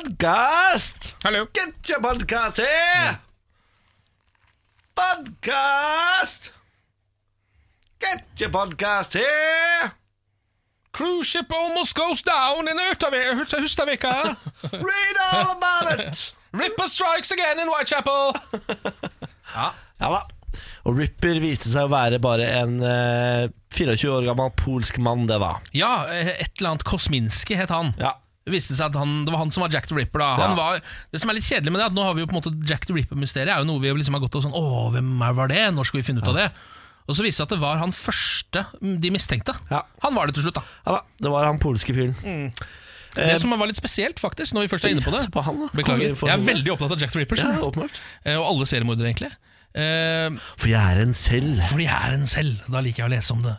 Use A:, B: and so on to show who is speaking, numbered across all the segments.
A: Podcast!
B: Hallo.
A: Get your podcast here! Podcast! Get your podcast here!
B: Cruise ship almost goes down in Ørtave- Hurt- Hustadvika.
A: Read all about it!
B: Ripper strikes again in Whitechapel.
A: Ja da. Og Ripper viste seg å være bare en eh, 24 år gammel polsk mann, det da.
B: Ja, eh, et eller annet Kosminski het han.
A: Ja.
B: Det viste seg at han, det var han som var Jack the Ripper. da
A: Ja.
B: han var, Det som er litt kjedelig med det, er at nå har vi jo på en måte Jack the Ripper-mysteriet er jo noe vi jo liksom har gått og sånn Å, hvem er- var det? Når skal vi finne ut av det? Og så viste det seg at det var han første mm, de mistenkte.
A: Ja.
B: Han var det til slutt, da.
A: ja da. Det var han polske fyren.
B: Det som var litt spesielt, faktisk, når vi først er Mm. inne på det
A: Se på han, da.
B: Beklager.
A: Kommer vi for-
B: Jeg er veldig opptatt av Jack the Ripper,
A: Ja,
B: skjønner du.
A: åpenbart.
B: Eh, sånn. og alle seriemordere, egentlig. Eh,
A: For jeg er en selv.
B: Fordi jeg er en selv, da liker jeg å lese om det.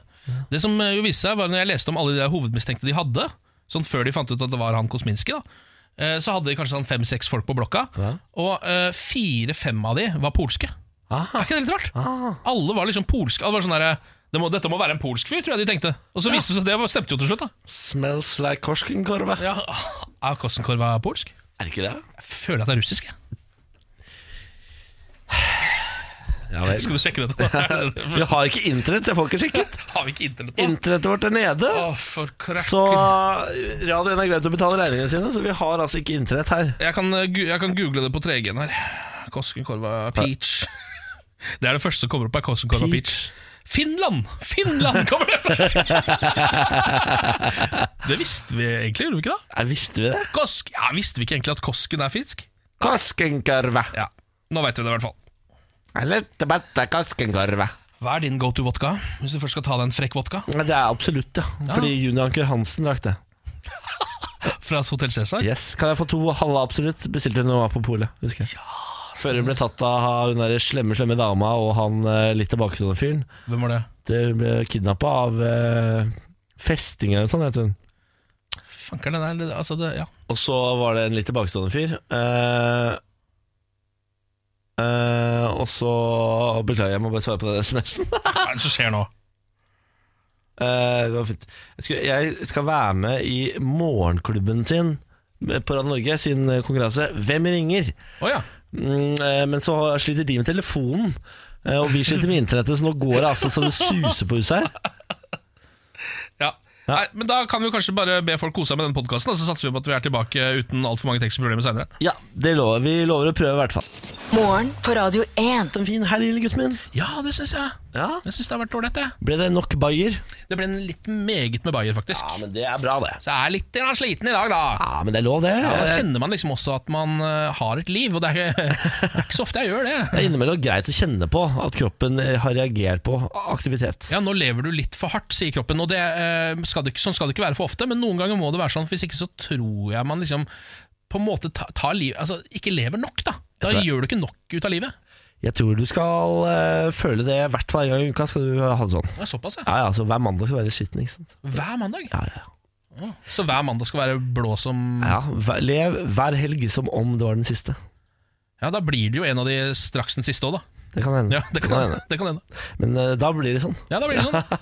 B: Det som eh, jo viste seg, var når jeg leste om alle de der hovedmistenkte de hadde, sånn før de fant ut at det var han Kosminski, da, eh, så hadde de kanskje sånn fem-seks folk på blokka,
A: Ja.
B: og eh, fire-fem av de var polske. Er
A: Aha.
B: ikke det litt rart?
A: Ah,
B: Alle var liksom polske. Alle var sånn der, det må, dette må være en polsk fyr, tror jeg de tenkte. Og så viste det seg at det var- stemte jo til slutt, da.
A: Smells like korskenkorva.
B: Ja, Er Kossenkorv er polsk?
A: Er det ikke det?
B: Jeg føler at det er russisk, jeg.
A: Ja vel.
B: Skal du sjekke dette? da?
A: Vi har ikke internett, jeg får ikke sjekket.
B: Har vi ikke internett nå?
A: Internettet vårt er nede.
B: Å, for krakker.
A: Så radioen har glemt å betale regningene sine, så vi har altså ikke internett her.
B: Jeg kan, eh, gu- jeg kan google det på 3G-en her. Koskenkorva peach. Det er det første som kommer opp. er Koskenkorva peach. Finland! Finland kommer det først! det visste vi egentlig, gjorde vi ikke det?
A: Ja, visste vi det?
B: Kosk, ja, Visste vi ikke egentlig at kosken er fisk?
A: Korskenkorva.
B: Ja, Nå veit vi det i hvert fall.
A: Lette batte korskenkorva.
B: Hva er din go to vodka, hvis du først skal ta deg en frekk vodka?
A: Ja, Det er absolutt, ja. Fordi Junior Anker Hansen drakk det.
B: Fra Hotell Cæsar?
A: Yes. Kan jeg få to halve absolutt? Bestilte hun da hun var på polet, husker jeg. Før hun ble tatt av hun der slemme, slemme dama og han eh, litt tilbakestående fyren.
B: Hvem var det?
A: Det hun ble kidnappa av eh, festing eller noe sånt, heter hun.
B: Fankeren, den er altså det, ja.
A: Og så var det en litt tilbakestående fyr. Eh, eh, og så Beklager, jeg må bare svare på den SMS-en.
B: Hva er det som skjer nå?
A: Eh, det var fint. Jeg, skulle, jeg skal være med i morgenklubben sin på Radio Norge sin konkurranse Hvem ringer?
B: Å ja.
A: Mm, eh, men så sliter de med telefonen, eh, og vi sliter med internettet, så nå går det altså så det suser på huset her.
B: Ja. Nei, men Da kan vi jo kanskje bare be folk kose seg med den podkasten, og så satser vi på at vi er tilbake uten altfor mange tekstproblemer seinere.
A: Ja, det lover vi. lover å prøve, i hvert fall.
C: Morgen på Radio 1.
A: En fin helg, lille gutten min.
B: Ja, det syns jeg.
A: Ja.
B: Jeg synes Det har vært ålreit, det.
A: Ble det nok bayer?
B: Det ble en litt meget med Bayer, faktisk.
A: Ja, men det er bra, det.
B: Så jeg er litt grann sliten i dag, da.
A: Ja, men det er lov, det.
B: Da
A: Jeg-
B: kjenner man liksom også at man eh, har et liv, og det er, ikke- det er ikke så ofte jeg gjør det.
A: Det er innimellom greit å kjenne på at kroppen eh, har reagert på aktivitet.
B: Ja, nå lever du litt for hardt, sier kroppen, og det, eh, skal det, ikke- sånn skal det ikke være for ofte, men noen ganger må det være sånn, for hvis ikke så tror jeg man liksom på en måte ta- tar liv, altså ikke lever nok, da. Da
A: tror jeg-
B: gjør du ikke nok ut av livet.
A: Jeg tror du skal eh, føle det hvert fall en gang i uka. skal du ha det sånn.
B: Det er såpass, ja.
A: Ja, ja, så Hver mandag skal du være skitten. ikke sant?
B: Hver mandag.
A: Ja, ja.
B: Så hver mandag skal være blå som
A: ja hver, Lev hver helg som om det var den siste.
B: Ja, da blir det jo en av de straks den siste òg, da.
A: Det kan hende.
B: Ja, det kan hende. Det kan hende.
A: Men eh, da blir det sånn.
B: Ja, da blir det sånn.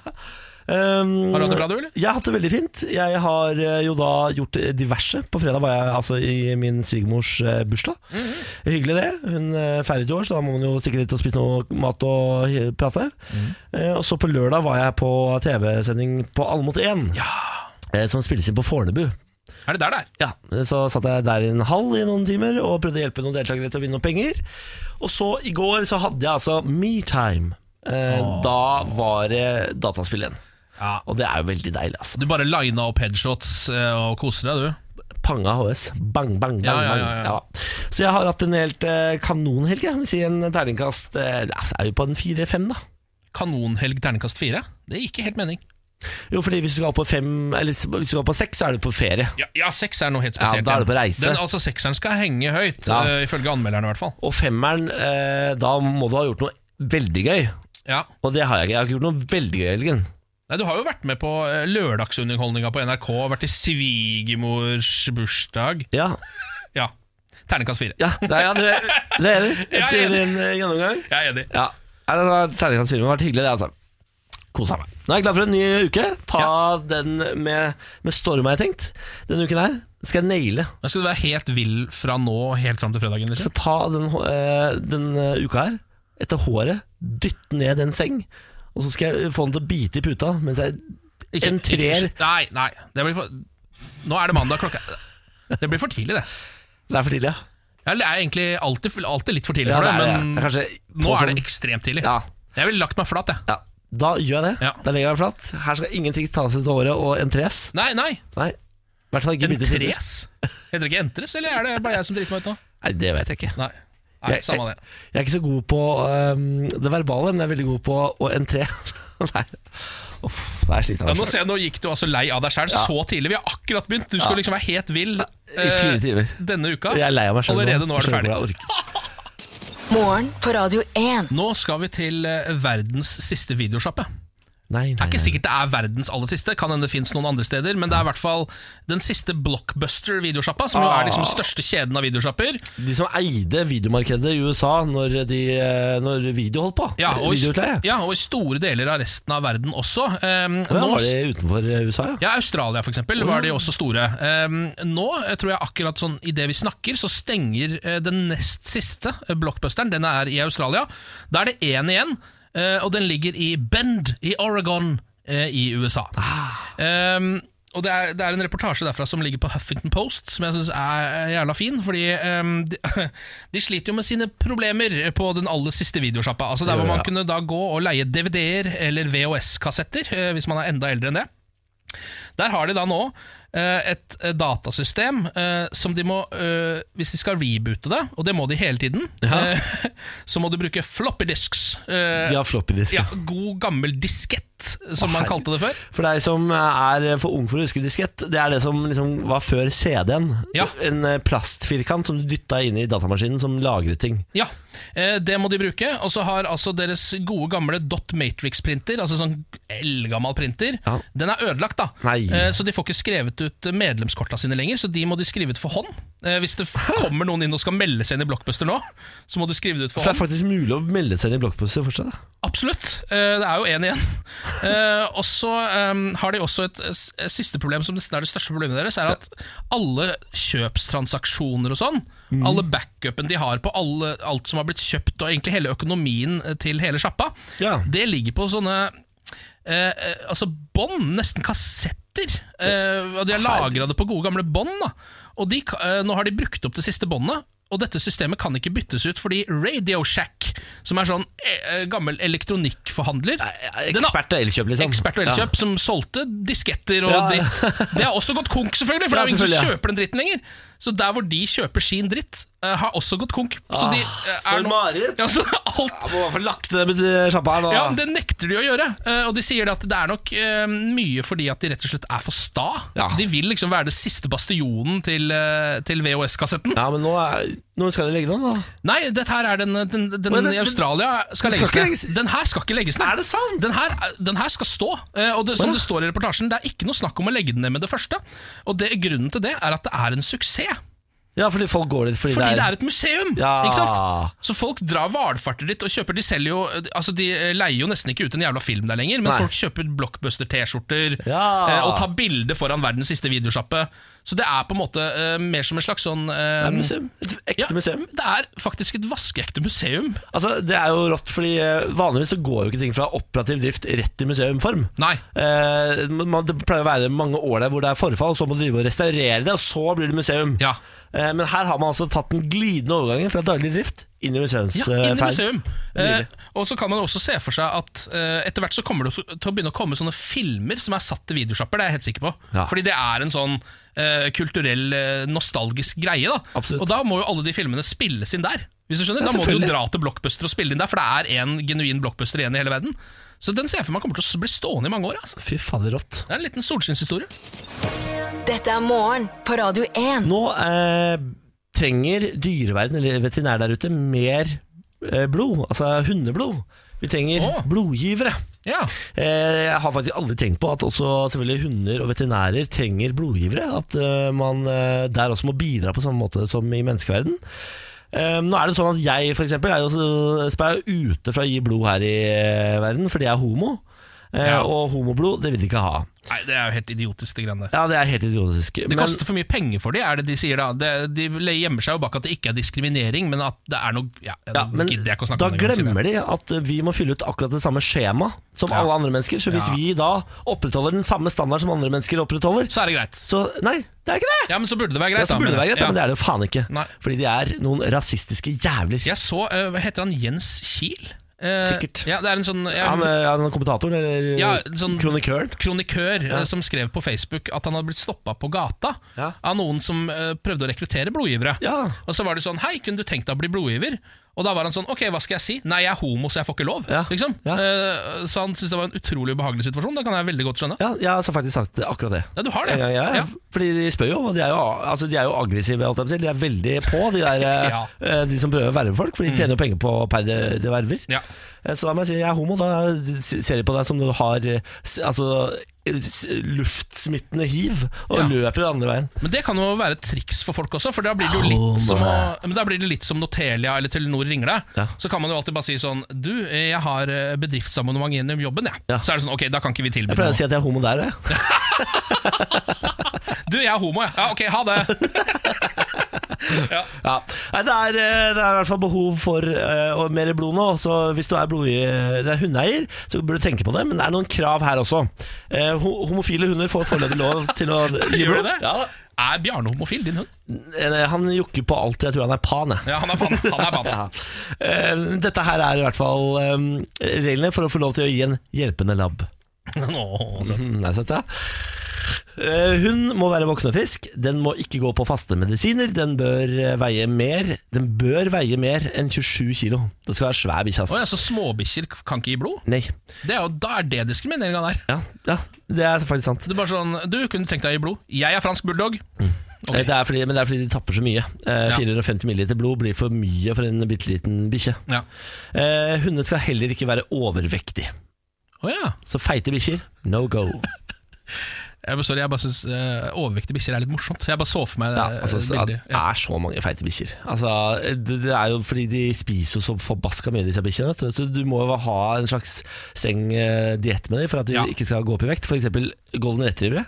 A: Um,
B: Har du hatt det bra, du, eller?
A: Jeg har hatt det veldig fint. Jeg har eh, jo da gjort eh, diverse. På fredag var jeg altså i min svigermors eh, bursdag. Hyggelig det. Hun eh, feiret jo år, så da må man jo stikke dit og spise noe mat og eh, prate. Eh, Og så på lørdag var jeg på TV-sending på Alle mot én, eh, som spilles inn på Fornebu.
B: Er det der det er?
A: Ja, Så satt jeg der i en hall i noen timer og prøvde å hjelpe noen deltakere til å vinne noen penger. Og så i går så hadde jeg altså metime. Eh, Da var det dataspill igjen.
B: Ja.
A: Og det er jo veldig deilig, altså.
B: Du bare lina opp headshots eh, og koser deg, du.
A: Panga HS. Bang, bang, bang.
B: Ja, ja,
A: bang.
B: ja, ja.
A: Så jeg har hatt en helt eh, kanonhelg. Jeg vil si en terningkast eh, ja, så er vi på en fire-fem, da.
B: Kanonhelg terningkast fire. Det gir ikke helt mening.
A: Jo, fordi hvis du skal opp på fem, eller s- hvis du skal opp på seks, så er du på ferie.
B: Ja, ja seks er noe helt spesielt.
A: Ja, da er det
B: igjen.
A: på reise.
B: Den, altså, sekseren skal henge høyt,
A: Ja.
B: eh, ifølge anmelderen i hvert fall.
A: Og femmeren, eh, da må du ha gjort noe veldig gøy.
B: Ja.
A: Og det har jeg ikke. Jeg har ikke gjort noe veldig gøy i helgen.
B: Nei, du har jo vært med på eh, lørdagsunderholdninga på NRK, vært i svigermors bursdag.
A: Ja,
B: Ja. Terningkast fire.
A: ja, det er, ja, det, det er det.
B: Ja,
A: Etter
B: jeg er
A: en eh, gjennomgang.
B: Jeg er enig.
A: Ja. Nei, det var terningkast fire, men det har vært hyggelig, det, altså. Kosa meg. Nå er jeg glad for en ny uke. Ta den med, med storm, har jeg tenkt. Denne uken her. skal jeg naile.
B: Men Skal du være helt vill fra nå og helt fram til fredagen?
A: Så
B: Liksom?
A: ta den, eh, den eh, uka her, etter håret, dytt ned en seng, og så skal jeg få den til å bite i puta mens jeg Altså, en treer.
B: Nei, nei. Det blir for... Nå er det mandag klokka Det blir for tidlig, det.
A: Det er for tidlig, ja.
B: Jeg er egentlig alltid, alltid litt for tidlig
A: Ja,
B: for det,
A: det er det.
B: men
A: Det er kanskje
B: nå
A: på
B: er det
A: sånn-
B: ekstremt tidlig.
A: ja.
B: Jeg ville lagt meg flat, jeg.
A: ja. Da gjør jeg det.
B: Ja.
A: Da legger jeg meg flatt. Her skal ingenting tas ut av håret og entres.
B: Nei, nei.
A: Nei. I hvert fall ikke bite i puter.
B: Entres? Heter det ikke entres, eller er det bare jeg som driter meg ut nå?
A: Nei, det vet jeg ikke.
B: Nei, nei
A: Jeg-
B: samme det.
A: Jeg er ikke så god på øhm, det verbale, men jeg er veldig god på å entré. Nei, Uff, det er slitsomt.
B: Ja, nå, ser jeg, nå gikk du altså lei av deg sjøl så tidlig. Vi har akkurat begynt. Du skulle liksom være helt vill eh,
A: fire timer.
B: denne uka.
A: Jeg er lei av meg selv
B: Allerede nå er
A: Jeg
B: du
A: skjønner
B: ferdig.
A: ikke hvordan jeg orker.
C: Morgen på Radio 1.
B: Nå skal vi til eh, verdens siste videosjappe.
A: Nei,
B: Det
A: nei,
B: er ikke sikkert det er verdens aller siste, kan hende det fins noen andre steder, men det er i hvert fall den siste blockbuster-videosjappa, som jo
A: Ah.
B: er liksom den største kjeden av videosjapper.
A: nei. De som eide videomarkedet i USA når, de, eh, når video holdt på.
B: Ja, og, i,
A: Videoutleie.
B: ja, og i store deler av resten av verden også. Um,
A: Ja,
B: nå-
A: var det utenfor eh, USA, ja?
B: Ja, Australia for eksempel, var de også store. Ehm, nå eh, tror jeg akkurat sånn i det vi snakker, så stenger eh, den nest siste eh, blockbusteren. Den er i Australia. Da er det én igjen, eh, og den ligger i Bend i Oregon eh, i USA. Ehm, og det er, det er en reportasje derfra som ligger på Huffington Post, som jeg syns er jævla fin. Fordi ehm, de, de sliter jo med sine problemer på den aller siste videosjappa. Altså Der hvor man
A: Ja.
B: kunne da gå og leie DVD-er eller VHS-kassetter, eh, hvis man er enda eldre enn det. Der har de da nå eh, et eh, datasystem eh, som de må eh, Hvis de skal reboote det, og det må de hele tiden,
A: Ja.
B: eh, så må du bruke floppy disks. eh,
A: De har floppy disk.
B: ja,
A: Ja.
B: god gammel diskett, som man
A: herregud.
B: kalte det før.
A: For deg som eh, er for ung for å huske diskett, det er det som liksom var før CD-en.
B: Ja.
A: En eh, plastfirkant som du dytta inn i datamaskinen som lagret ting.
B: Ja, eh, det må de bruke. Og så har altså deres gode gamle dot matrix-printer, altså sånn eldgammel printer,
A: Ja.
B: den er ødelagt, da.
A: Nei.
B: Eh, Så de får ikke skrevet ut medlemskorta sine lenger, så de må de skrive ut for hånd. Eh, Hvis det f- kommer noen inn og skal melde seg inn i Blockbuster nå, så må du skrive det ut for
A: For det
B: hånd.
A: er faktisk mulig å melde seg inn i blokkposter fortsatt. da.
B: Absolutt. Eh, Det er jo én igjen. Eh, Og så eh, har de også et eh, s- siste problem, som nesten er det største problemet deres, er at alle kjøpstransaksjoner og sånn, alle backupen de har på alle, alt som har blitt kjøpt, og egentlig hele økonomien eh, til hele sjappa,
A: Ja.
B: det ligger på sånne eh, eh, Altså bånd, nesten kassetter. Eh, og de har lagra det på gode gamle bånd. da. Og de, ka- eh, nå har de brukt opp det siste båndet. Og dette systemet kan ikke byttes ut fordi Radio Shack, som er sånn eh, eh, gammel elektronikkforhandler Eh, den har-
A: Ekspert og elkjøp, liksom.
B: Ekspert og elkjøp som solgte disketter og
A: Ja, ja.
B: dritt. Det har også gått konk, selvfølgelig, for
A: Ja,
B: det er jo ingen som
A: selvfølgelig, ja.
B: kjøper den dritten lenger. Så der hvor de kjøper sin dritt, eh, har også gått konk. Så de eh,
A: Ah, for
B: er nå-
A: mareritt.
B: Ja, så alt
A: Jeg må i hvert fall lagt ned med eh, sjappa her nå.
B: ja, men Det nekter de å gjøre. Eh, Og de sier det at det er nok eh, mye fordi at de rett og slett er for sta.
A: Ja.
B: De vil liksom være det siste bastionen til, eh, til VHS-kassetten.
A: Ja, men nå, er, nå skal de legge den, da.
B: Nei, dette her er den, den, den
A: Men det-
B: i Australia skal
A: den skal
B: legges
A: ikke
B: ned.
A: legges-
B: Den her skal ikke legges ned.
A: Er det sant?
B: Den her, den her skal stå. Eh, Og det, som
A: Å, ja.
B: det står i reportasjen, det er ikke noe snakk om å legge den ned med det første. Og det, grunnen til det er at det er en suksess.
A: Ja, fordi folk går dit fordi,
B: Fordi det er et museum!
A: Ja.
B: Ikke sant? Så folk drar valfarter dit og kjøper De selger jo Altså de eh, leier jo nesten ikke ut en jævla film der lenger, men
A: Nei.
B: folk kjøper blockbuster-T-skjorter
A: Ja.
B: eh, og tar bilde foran verdens siste videosjappe. Så det er på en måte eh, mer som en slags sånn eh,
A: det er et museum. Et ekte
B: ja,
A: museum.
B: Det er faktisk et vaskeekte museum.
A: Altså, det er jo rått, fordi eh, vanligvis så går jo ikke ting fra operativ drift rett i museumform.
B: Nei.
A: Eh, man, det pleier å være mange år der hvor det er forfall, så må du drive og restaurere det, og så blir det museum.
B: Ja.
A: Eh, men her har man altså tatt den glidende overgangen fra daglig drift inn i
B: Ja, inn i
A: museumsferden.
B: museum. Eh, og så kan man også se for seg at eh, etter hvert så kommer det til å begynne å komme sånne filmer som er satt til videosjapper, det er jeg helt sikker på.
A: Ja.
B: Fordi det er en sånn eh, kulturell, eh, nostalgisk greie. da
A: Absolutt.
B: Og da må jo alle de filmene spilles inn der. Hvis du skjønner,
A: Ja,
B: Da må du jo
A: selvfølgelig.
B: dra til blockbuster og spille inn der, for det er én genuin blockbuster igjen i hele verden. Så den ser jeg for meg kommer til å bli stående i mange år. Altså.
A: Fy fader, rått.
B: Det er en liten solskinnshistorie.
C: Dette er morgen på Radio 1.
A: Nå eh, trenger dyreverden eller veterinær der ute mer eh, blod, altså hundeblod. Vi trenger
B: Åh.
A: blodgivere.
B: Ja.
A: Eh, jeg har faktisk aldri tenkt på at også selvfølgelig hunder og veterinærer trenger blodgivere. At eh, man eh, der også må bidra på samme måte som i menneskeverden. Eh, nå er det sånn at jeg for eksempel, er jo også- så er jeg ute fra å gi blod her i eh, verden fordi jeg er homo. Eh,
B: Ja.
A: Og homoblod, det vil de ikke ha.
B: Nei, det er jo helt idiotisk, de greiene der.
A: Ja, det er helt idiotisk.
B: Det koster for mye penger for de, er det de sier da. Det- De gjemmer seg jo bak at det ikke er diskriminering, men at det er noe Ja,
A: ja,
B: nå
A: men
B: gidder jeg ikke å snakke
A: da
B: om det. engang,
A: glemmer de at vi må fylle ut akkurat det samme skjema som
B: Ja.
A: alle andre mennesker. Så hvis
B: Ja.
A: vi da opprettholder den samme standard som andre mennesker opprettholder,
B: Så er det greit.
A: så Nei, det er ikke det!
B: Ja, men så burde det være
A: Ja,
B: greit.
A: så burde det
B: da,
A: være greit, da, men det er det jo faen ikke.
B: Nei.
A: Fordi de er noen rasistiske jævler.
B: Jeg så eh, Hva heter han? Jens Kiel? Eh,
A: Sikkert.
B: Ja, det er en sånn jeg,
A: Han, eh, han er kommentatoren, eller
B: Ja, sånn-
A: kronikøren.
B: kronikør eh, som skrev på Facebook at han hadde blitt stoppa på gata
A: Ja.
B: av noen som eh, prøvde å rekruttere blodgivere.
A: Ja.
B: Og så var det sånn Hei, kunne du tenkt deg å bli blodgiver? Og da var han sånn Ok, hva skal jeg si? Nei, jeg er homo, så jeg får ikke lov.
A: Ja.
B: Liksom.
A: Ja.
B: Eh, så han syntes det var en utrolig ubehagelig situasjon. Det kan jeg veldig godt skjønne.
A: Ja, jeg har så faktisk sagt akkurat det.
B: Ja, du har det.
A: En gang, ja.
B: Ja.
A: Fordi de spør jo, og de er jo, altså, de er jo aggressive. holdt jeg på å si. De er veldig på, de, der, eh,
B: Ja. Mm.
A: eh, de som prøver å verve folk. For de tjener jo penger på per de, de verver.
B: Ja.
A: Eh, Så da må jeg si jeg er homo. Da ser de på deg som du har eh, s- altså, s- luftsmittende hiv, og
B: Ja.
A: løper den andre veien.
B: Men det kan jo være et triks for folk også, for da blir det jo
A: Homo.
B: litt som, å, men da blir det litt som når Telia eller Telenor ringer deg.
A: Ja.
B: Så kan man jo alltid bare si sånn Du, jeg har eh, bedriftsabonnement gjennom jobben, jeg.
A: Ja.
B: Så er det sånn, ok, da kan ikke vi tilby
A: Jeg pleier
B: noe.
A: å si at jeg er homo der, jeg.
B: Du, jeg er homo, jeg. Ja, ok, ha det. ja.
A: Ja. Nei, det, er, eh, det er i hvert fall behov for eh, og mer blod nå. Så hvis du er, blod, eh, det er hundeeier, så burde du tenke på det. Men det er noen krav her også. Eh, ho- homofile hunder får foreløpig lov til å gi
B: Gjør du
A: blod.
B: det?
A: Ja.
B: Er Bjarne homofil, din hund?
A: Eh, Han jokker på alt. Jeg tror han er pan, jeg.
B: Ja, han er pan. Han er pan.
A: Ja. Eh, Dette her er i hvert fall eh, reglene for å få lov til å gi en hjelpende labb.
B: Nå, så-
A: Mm, det er sant, ja. Eh, Hun må være voksnefisk, den må ikke gå på faste medisiner, den bør eh, veie mer Den bør veie mer enn 27 kilo. Det skal være svær bikkje,
B: Å ja,
A: ass.
B: så småbikkjer kan ikke gi blod?
A: Nei.
B: Det er jo, da er det diskrimineringa der.
A: Ja, ja, det er faktisk sant.
B: Det er bare sånn Du kunne tenkt deg å gi blod. Jeg er fransk bulldog. Ok.
A: Eh, Det er fordi, men det er fordi de tapper så mye. Eh,
B: Ja.
A: 450 ml blod blir for mye for en bitte liten bikkje.
B: Ja.
A: Eh, Hundene skal heller ikke være overvektig.
B: Å ja.
A: Så feite bikkjer, no go.
B: Jeg, bare- sorry, jeg bare syns eh, overvektige bikkjer er litt morsomt. Så jeg bare så for meg
A: Ja,
B: eh,
A: altså, så- det
B: bilder. Ja.
A: er så mange feite bikkjer. Altså, det, det er jo fordi de spiser jo så forbaska mye, disse bikkjene. vet du. Så du må jo ha en slags streng uh, diett med dem for at de
B: Ja.
A: ikke skal gå opp i vekt. F.eks. golden retrievere.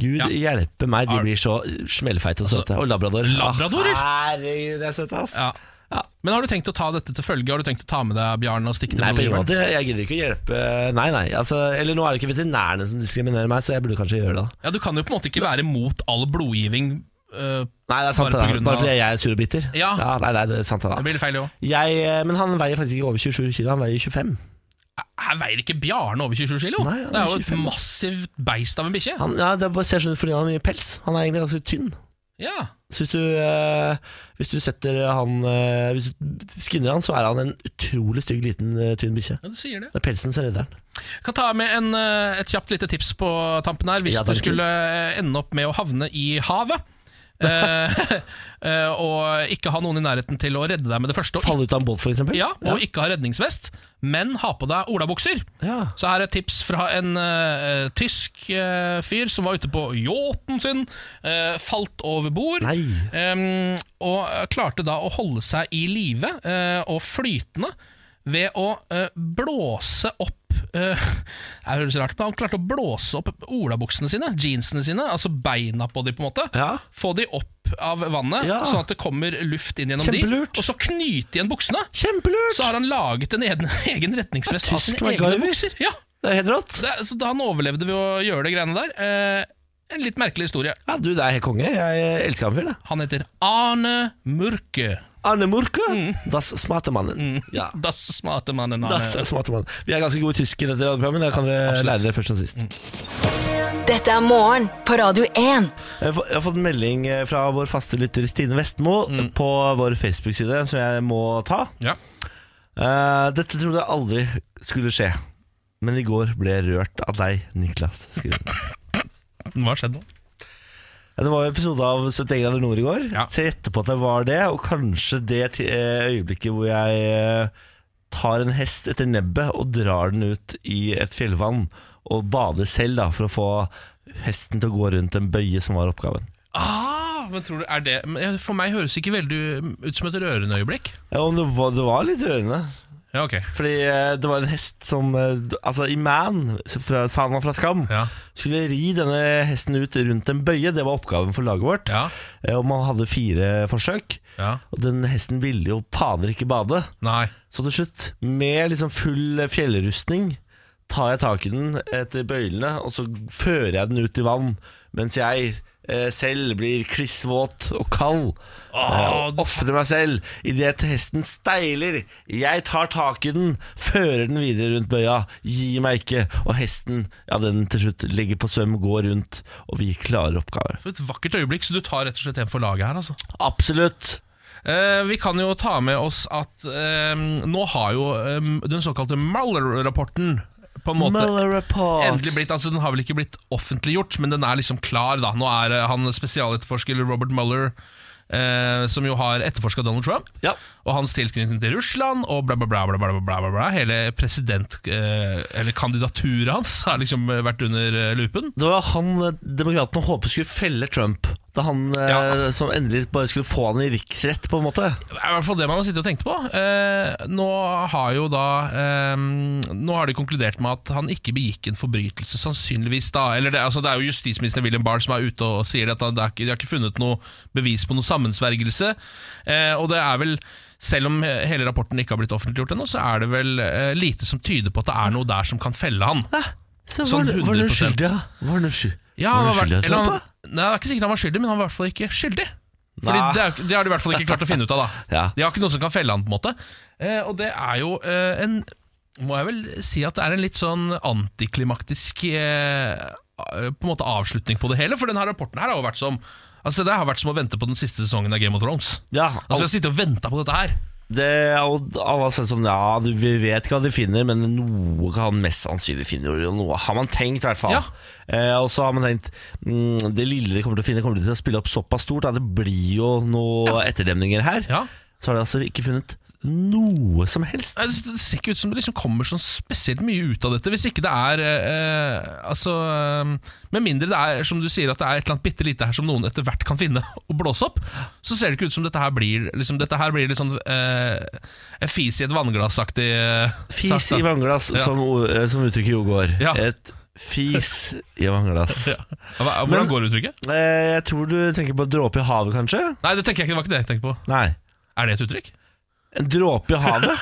A: Gud
B: Ja.
A: hjelpe meg, de
B: Har- Altså,
A: blir så smellfeite og søte. Og labrador.
B: Labradorer?
A: Ah, Herregud, det er søte, ass.
B: Ja.
A: Ja.
B: Men har du tenkt å ta dette til følge? Har du tenkt å ta med deg Bjarne og stikke til
A: Nei, på ingen
B: blodgiveren?
A: måte. Jeg gidder ikke å hjelpe Nei, nei. Altså, eller nå er det ikke veterinærene som diskriminerer meg, så jeg burde kanskje gjøre det. da
B: Ja, du kan jo på en måte ikke være mot all blodgivning. eh,
A: Nei, det er sant. Bare, det
B: Bare på
A: da.
B: grunn
A: bare
B: av-
A: fordi jeg er sur og bitter.
B: Ja.
A: nei, nei, det er sant det
B: det
A: da
B: blir litt feil, det òg.
A: jeg, eh, Men han veier faktisk ikke over 27 kilo, han veier 25.
B: Her veier ikke Bjarne over 27 kilo!
A: Nei, han
B: det
A: er
B: er jo et
A: 25.
B: massivt beist av en bikkje.
A: Han, ja, det er bare ser sånn ut fordi han har mye pels. Han er egentlig ganske tynn.
B: Ja.
A: Så hvis du, eh, hvis du setter han eh, Hvis du skinner han, så er han en utrolig stygg, liten, eh, tynn bikkje.
B: ja, du sier det.
A: Det er pelsen som redder han.
B: Kan ta med en, eh, et kjapt lite tips på tampen her. Hvis
A: Ja,
B: du
A: takk.
B: skulle eh, ende opp med å havne i havet, eh, eh, og ikke ha noen i nærheten til å redde deg med det første, og,
A: Falle ut av en båt, for eksempel.
B: ja, og ikke ha redningsvest, men ha på deg olabukser.
A: Ja.
B: Så her er et tips fra en eh, tysk eh, fyr som var ute på yachten sin, eh, falt over bord.
A: Nei.
B: Ehm, og klarte da å holde seg i live eh, og flytende ved å eh, blåse opp eh, Det høres rart ut, men han klarte å blåse opp olabuksene sine, jeansene sine, altså beina på de på en måte.
A: Ja.
B: Få de opp av vannet,
A: Ja.
B: sånn at det kommer luft inn gjennom de.
A: Kjempelurt.
B: Og så knyte igjen buksene.
A: Kjempelurt!
B: Så har han laget en egen, egen retningsvest av
A: Tysk
B: sine egne
A: MacGyver.
B: bukser. Ja,
A: Det er helt rått.
B: så, det, er- så da han overlevde ved å gjøre det greiene der. Eh, en litt merkelig historie.
A: Ja, du, det er helt konge. Jeg eh, elsker han fyren, jeg.
B: Han heter Arne Mørke.
A: Arne Murke. Das smarte mannen. Ja.
B: Das smarte mannen Mm. Arne.
A: Das smarte mannen. Vi er ganske gode i tysk i dette radioprogrammet. Det kan dere lære dere først og sist.
C: Dette er morgen på Radio 1.
A: Jeg har fått- jeg har fått en melding eh, fra vår faste lytter Stine Vestmo på vår Facebook-side, som jeg må ta.
B: Ja.
A: Eh, dette trodde jeg aldri skulle skje, men i går ble jeg rørt av deg, Niklas. skriver hun.
B: Hva skjedde nå?
A: Ja, det var jo episode av 71 grader nord i går,
B: Ja.
A: så jeg gjetter på at det var det. Og kanskje det ti- eh, øyeblikket hvor jeg eh, tar en hest etter nebbet og drar den ut i et fjellvann, og bader selv da, for å få hesten til å gå rundt en bøye som var oppgaven.
B: Ah, men tror du, er det, men for meg høres det ikke veldig ut som et rørende øyeblikk.
A: Ja, om det, var, det var litt rørende.
B: Ja, ok.
A: Fordi eh, det var en hest som eh, d- Altså, i Man, fra Sana fra Skam,
B: Ja.
A: skulle ri denne hesten ut rundt en bøye. Det var oppgaven for laget vårt.
B: Ja.
A: Eh, Og man hadde fire forsøk.
B: Ja.
A: Og den hesten ville jo fader ikke bade.
B: Nei.
A: Så til slutt, med liksom full fjellrustning, tar jeg tak i den etter bøylene, og så fører jeg den ut i vann, mens jeg eh, selv blir klissvåt og kald. Eh,
B: Åh,
A: og ofrer meg selv idet hesten steiler. Jeg tar tak i den, fører den videre rundt bøya, gir meg ikke. Og hesten, ja, den til slutt legger på svøm, går rundt, og vi klarer oppgaven.
B: For et vakkert øyeblikk, så du tar rett og slett en for laget her, altså.
A: Absolutt.
B: Eh, vi kan jo ta med oss at eh, nå har jo eh, den såkalte Mueller-rapporten på en måte
A: Mueller report.
B: endelig blitt altså Den har vel ikke blitt offentliggjort, men den er liksom klar. da Nå er eh, han spesialetterforsker Robert Mueller, eh, som jo har etterforska Donald Trump,
A: Ja.
B: og hans tilknytning til Russland og bla, bla, bla. bla, bla, bla, bla, bla. Hele president... Eh, eller kandidaturet hans har liksom eh, vært under eh, lupen.
A: Det var han eh, demokratene håpet skulle felle Trump. Da han eh,
B: Ja.
A: som endelig bare skulle få han i riksrett, på en måte.
B: Det er i hvert fall det man har sittet og tenkt på. Eh, nå har jo da eh, Nå har de konkludert med at han ikke begikk en forbrytelse, sannsynligvis da. Eller det, altså, det er jo justisminister William Barr som er ute og sier at han- det er ikke, de har ikke funnet noe bevis på noe sammensvergelse. Eh, og det er vel selv om he- hele rapporten ikke har blitt offentliggjort ennå, så er det vel eh, lite som tyder på at det er noe der som kan felle han.
A: Så
B: Sånn
A: var, var han
B: 100%.
A: uskyldig, ja? Var han usky-
B: Ja,
A: var
B: han
A: han
B: har vært,
A: uskyldig av
B: eller
A: Trump,
B: han,
A: da?
B: nei, det er ikke sikkert han var skyldig, men han var i hvert fall ikke skyldig. Fordi
A: Nei.
B: det, er, jo ikke- det har de i hvert fall ikke klart å finne ut av. da
A: Ja.
B: De har ikke noe som kan felle han, på en måte. Eh, og det er jo eh, en Må jeg vel si at det er en litt sånn antiklimaktisk eh, eh, På en måte avslutning på det hele, for den her rapporten her har jo vært som Altså Det har vært som å vente på den siste sesongen av Game of Thrones.
A: Ja,
B: Altså Vi har sittet og venta på dette her.
A: det, og alle har sagt sånn Ja, du- vi vet ikke hva de finner, men noe kan han mest sannsynlig finne. Og noe har man tenkt, i hvert fall.
B: Ja.
A: Eh, og så har man tenkt mm, Det lille de kommer til å finne, kommer de til å spille opp såpass stort. Da. Det blir jo noen etterdemninger her.
B: Ja.
A: Så har de altså ikke funnet noe som helst.
B: Nei, Det det ser ikke ut som det liksom kommer sånn spesielt mye ut av dette, hvis ikke det er eh, Altså eh, Med mindre det er som du sier at det er et eller annet bitte lite her som noen etter hvert kan finne og blåse opp, så ser det ikke ut som dette her blir liksom, Dette her blir litt sånn eh, en fis i et vannglassaktig eh,
A: Fis
B: sak,
A: i
B: da.
A: vannglass,
B: Ja.
A: som, o- eh, som uttrykket jo går.
B: Ja.
A: Et fis i vannglass.
B: Ja. Hva, hvordan
A: Men-
B: går uttrykket?
A: Eh, Jeg tror du tenker på en dråpe i havet, kanskje?
B: Nei, det tenker jeg ikke, det var ikke det jeg tenkte på.
A: Nei.
B: Er det et uttrykk?
A: En dråpe i havet?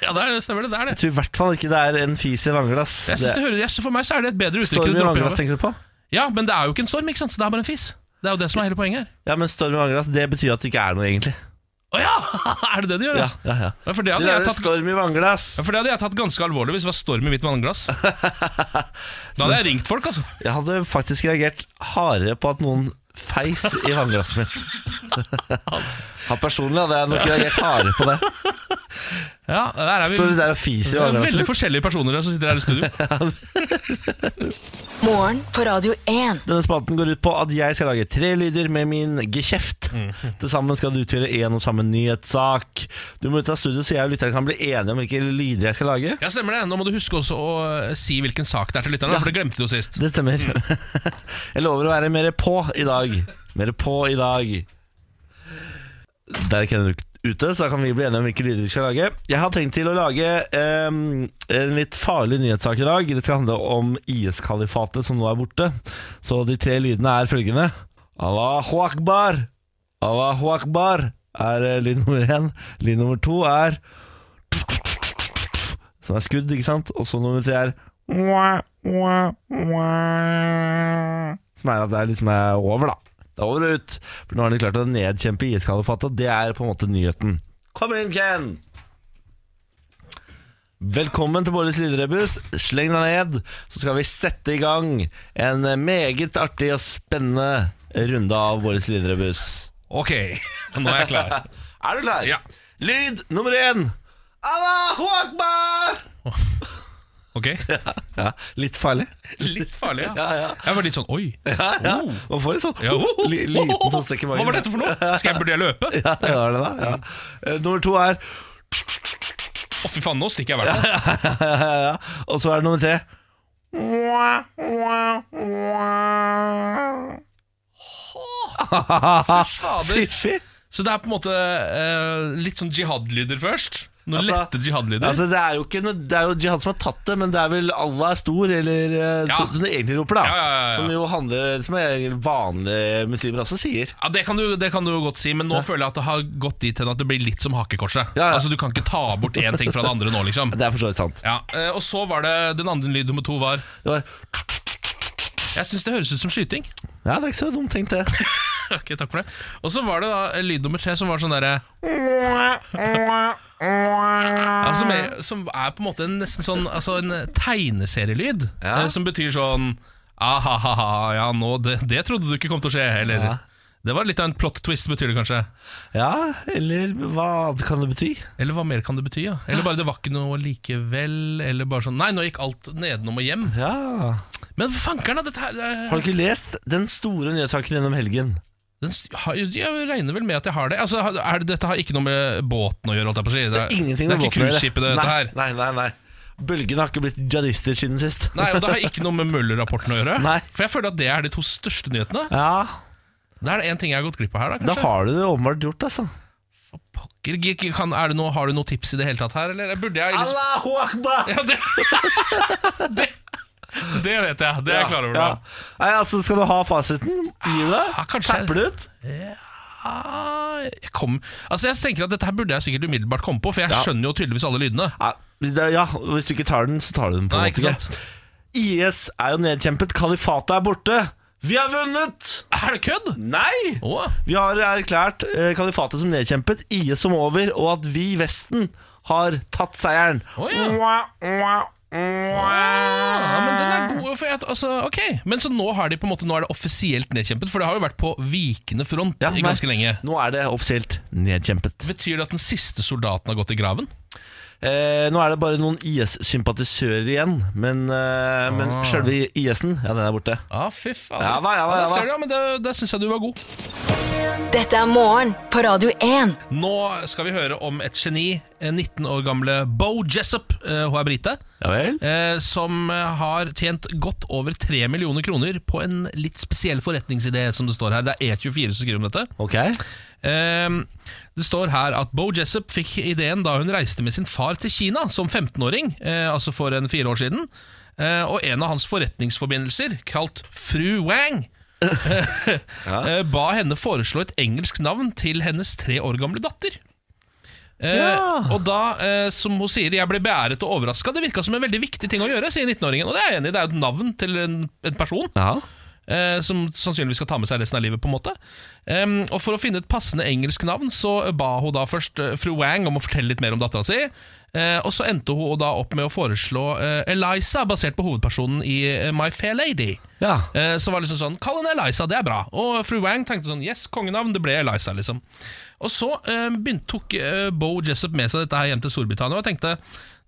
B: Ja, det er, stemmer det. Det er det.
A: Jeg tror i hvert fall ikke det er en fis i vannglass.
B: Jeg synes det hører, jeg, for meg så er det et bedre uttrykk
A: Storm
B: enn
A: i
B: dråpe i
A: vannglass,
B: havet.
A: tenker du på?
B: Ja, men det er jo ikke en storm, ikke sant? Så det er bare en fis. Det er jo det som er hele poenget her.
A: Ja, men storm i vannglass, det betyr at det ikke er noe, egentlig.
B: Å ja! Er det det de gjør?
A: Ja, ja, ja.
B: Ja, for det
A: Du
B: hadde jeg
A: lærer
B: tatt
A: storm i vannglass.
B: Ja, For det hadde jeg tatt ganske alvorlig hvis det var storm i mitt vannglass. Da hadde jeg ringt folk, altså.
A: Jeg hadde faktisk reagert hardere på at noen feis i vannglasset mitt. Ja, Personlig hadde jeg nok reagert hardere på det.
B: Ja, der er vi
A: Står du der og
B: Det
A: fiser i
B: er
A: vannglasset
B: Veldig
A: mitt?
B: forskjellige personer som sitter her i studio.
C: Morgen på Radio 1.
A: Denne spalten går ut på at jeg skal lage tre lyder med min gekjeft. Til sammen skal det utgjøre én og samme nyhetssak. Du må ut av studio, så jeg og lytteren kan bli enige om hvilke lyder jeg skal lage.
B: Ja, stemmer det. Nå må du huske også å eh, si hvilken sak det er til lytterne, for det glemte du jo sist.
A: Det stemmer. Jeg lover å være mer på i dag. Mer på i dag. Der er Kenneth ute, så da kan vi bli enige om hvilke lyder vi skal lage. Jeg har tenkt til å lage em, en litt farlig nyhetssak i dag. Det skal handle om IS-kalifatet som nå er borte. Så de tre lydene er følgende. Allahu akbar. Allahu akbar er eh, lyd nummer én. Lyd nummer to er som er skudd, ikke sant? Og så nummer tre er Som er at det er liksom er over, da. Det er over og ut. For nå har de klart å nedkjempe IS-kalifatet, og det er på en måte nyheten. Kom inn, Ken! Velkommen til Bårdis lydrebus. Sleng deg ned, så skal vi sette i gang en meget artig og spennende runde av Bårdis lydrebus.
B: Ok, nå er jeg klar.
A: Er du klar?
B: Ja.
A: Lyd nummer én. Allahu akbar!
B: Ok,
A: Ja, litt farlig.
B: Litt farlig, ja.
A: Ja, ja.
B: Jeg var litt sånn oi.
A: Ja, ja. Man får litt sånn
B: Ja.
A: oh, li, liten sånn stekk i magen.
B: Hva var dette for noe? Skal jeg, burde jeg løpe? Å,
A: Ja, det var det da. Ja. Eh, Nummer to er
B: fy faen, nå stikker jeg i hvert fall.
A: ja, Og så er det nummer tre. Fiffig.
B: Fader. Så det er på en måte eh, litt sånn jihad-lyder først. Noen lette jihad-lyder.
A: Altså, det, er jo ikke, noe- det er jo jihad som har tatt det, men det er vel Allah er stor, eller eh,
B: Ja.
A: så- som det egentlig roper, da.
B: Ja, ja, ja, ja.
A: Som jo handler Som er vanlige muslimer også sier.
B: Ja, det kan, du, det kan du jo godt si, men nå føler jeg at det har gått dit hen at det blir litt som hakekorset.
A: Ja, ja.
B: Altså, Du kan ikke ta bort én ting fra det andre nå, liksom.
A: Det er for så vidt sant.
B: Ja, eh, Og så var det den andre lyd nummer to var
A: Det var,
B: Jeg syns det høres ut som skyting.
A: ja, det er ikke så dumt tenkt, det.
B: ok, takk for det Og så var det da eh, lyd nummer tre som var sånn derre ja, som, er, som er på en måte en nesten sånn Altså en eh, tegneserielyd,
A: Ja.
B: eh, som betyr sånn Ah-ha-ha, ja, nå, det, det trodde du ikke kom til å skje, eller
A: Ja.
B: Det var litt av en plot twist, betyr det kanskje.
A: Ja, eller hva kan det bety?
B: Eller hva mer kan det bety? Ja? Eller bare det var ikke noe likevel? Eller bare sånn Nei, nå gikk alt nedenom og hjem.
A: Ja
B: Men fankeren, da! Dette her det
A: Har
B: er-
A: du ikke lest den store nyhetssaken gjennom helgen?
B: den, st- har- Jeg regner vel med at jeg har det. Altså, har- er, det- Dette har ikke noe med båten å gjøre, holdt jeg på å si. Det
A: Ingenting
B: Eh, det er
A: med båten
B: ikke
A: å gjøre.
B: cruiseskipet, det- dette
A: Nei,
B: her.
A: Nei, nei, nei. Bølgen har ikke blitt jihadister siden sist.
B: Nei, og det har ikke noe med Møller-rapporten å gjøre.
A: Nei.
B: For jeg føler at det er de to største nyhetene.
A: Ja,
B: Da er det én ting jeg har gått glipp av her, da,
A: da
B: kanskje.
A: har du det åpenbart gjort, altså.
B: For Pokker, gikk- kan, er det noe, har du noe tips i det hele tatt her, eller burde jeg
A: Allahu akbar!
B: ja, det, det, det vet jeg. Det er jeg klar over.
A: Ja.
B: da.
A: Nei, altså, skal du ha fasiten? Gir du deg?
B: Ja, kanskje.
A: Tapper du ut?
B: Ah, jeg, kom. Altså, jeg tenker at Dette her burde jeg sikkert umiddelbart komme på, for jeg
A: Ja.
B: skjønner jo tydeligvis alle lydene.
A: Ja, hvis det- ja, hvis du ikke tar den, så tar du den på.
B: Nei,
A: en måte,
B: ikke sant?
A: IS er jo nedkjempet, kalifatet er borte. Vi har vunnet!
B: Er det kødd?
A: Nei!
B: Å,
A: Vi har erklært eh, kalifatet som nedkjempet, IS som over, og at vi i Vesten har tatt seieren.
B: Å, ja. Ah,
A: Mwah, mwah, mwah.
B: ja, men den er god. For jeg, altså, ok Men så nå, har de på en måte, nå er det offisielt nedkjempet, for det har jo vært på vikende front
A: Ja,
B: i
A: nei,
B: ganske lenge.
A: Nå er det offisielt nedkjempet.
B: Betyr det at den siste soldaten har gått i graven?
A: Eh, nå er det bare noen IS-sympatisører igjen, men, eh, men
B: Ah.
A: sjølve IS-en, ja, den er borte.
B: Ja, Ah, fy faen.
A: Ja, hva, ja, hva, ja,
B: der
A: hva.
B: ser du, ja, men det, der syns jeg du var god.
C: Dette er morgen på Radio 1.
B: Nå skal vi høre om et geni. eh, 19 år gamle Bo Jessup. eh, Hun er brite.
A: Ja vel?
B: eh, som eh, har tjent godt over 3 millioner kroner på en litt spesiell forretningsidé, som det står her. Det er E24 som skriver om dette.
A: Ok.
B: Eh, det står her at Bo Jessup fikk ideen da hun reiste med sin far til Kina som 15-åring, eh, altså for en fire år siden. Eh, og en av hans forretningsforbindelser, kalt fru Wang, eh, ba henne foreslå et engelsk navn til hennes tre år gamle datter. Eh,
A: Ja.
B: Og da, eh, som hun sier, jeg ble beæret og overraska. Det virka som en veldig viktig ting å gjøre, sier 19-åringen. Og det er jeg enig i, det er jo et navn til en, en person
A: Ja.
B: eh, som sannsynligvis skal ta med seg resten av livet. på en måte Em, Og For å finne et passende engelsk navn Så ba hun da først eh, fru Wang om å fortelle litt mer om dattera si. Eh, og så endte hun da opp med å foreslå eh, Eliza, basert på hovedpersonen i eh, My Fair Lady.
A: ja.
B: Eh, Så var det liksom sånn Kall henne Eliza, det er bra. Og fru Wang tenkte sånn Yes, kongenavn. Det ble Eliza, liksom. Og så eh, begynte, tok eh, Bo Jessup med seg dette her hjem til Storbritannia og tenkte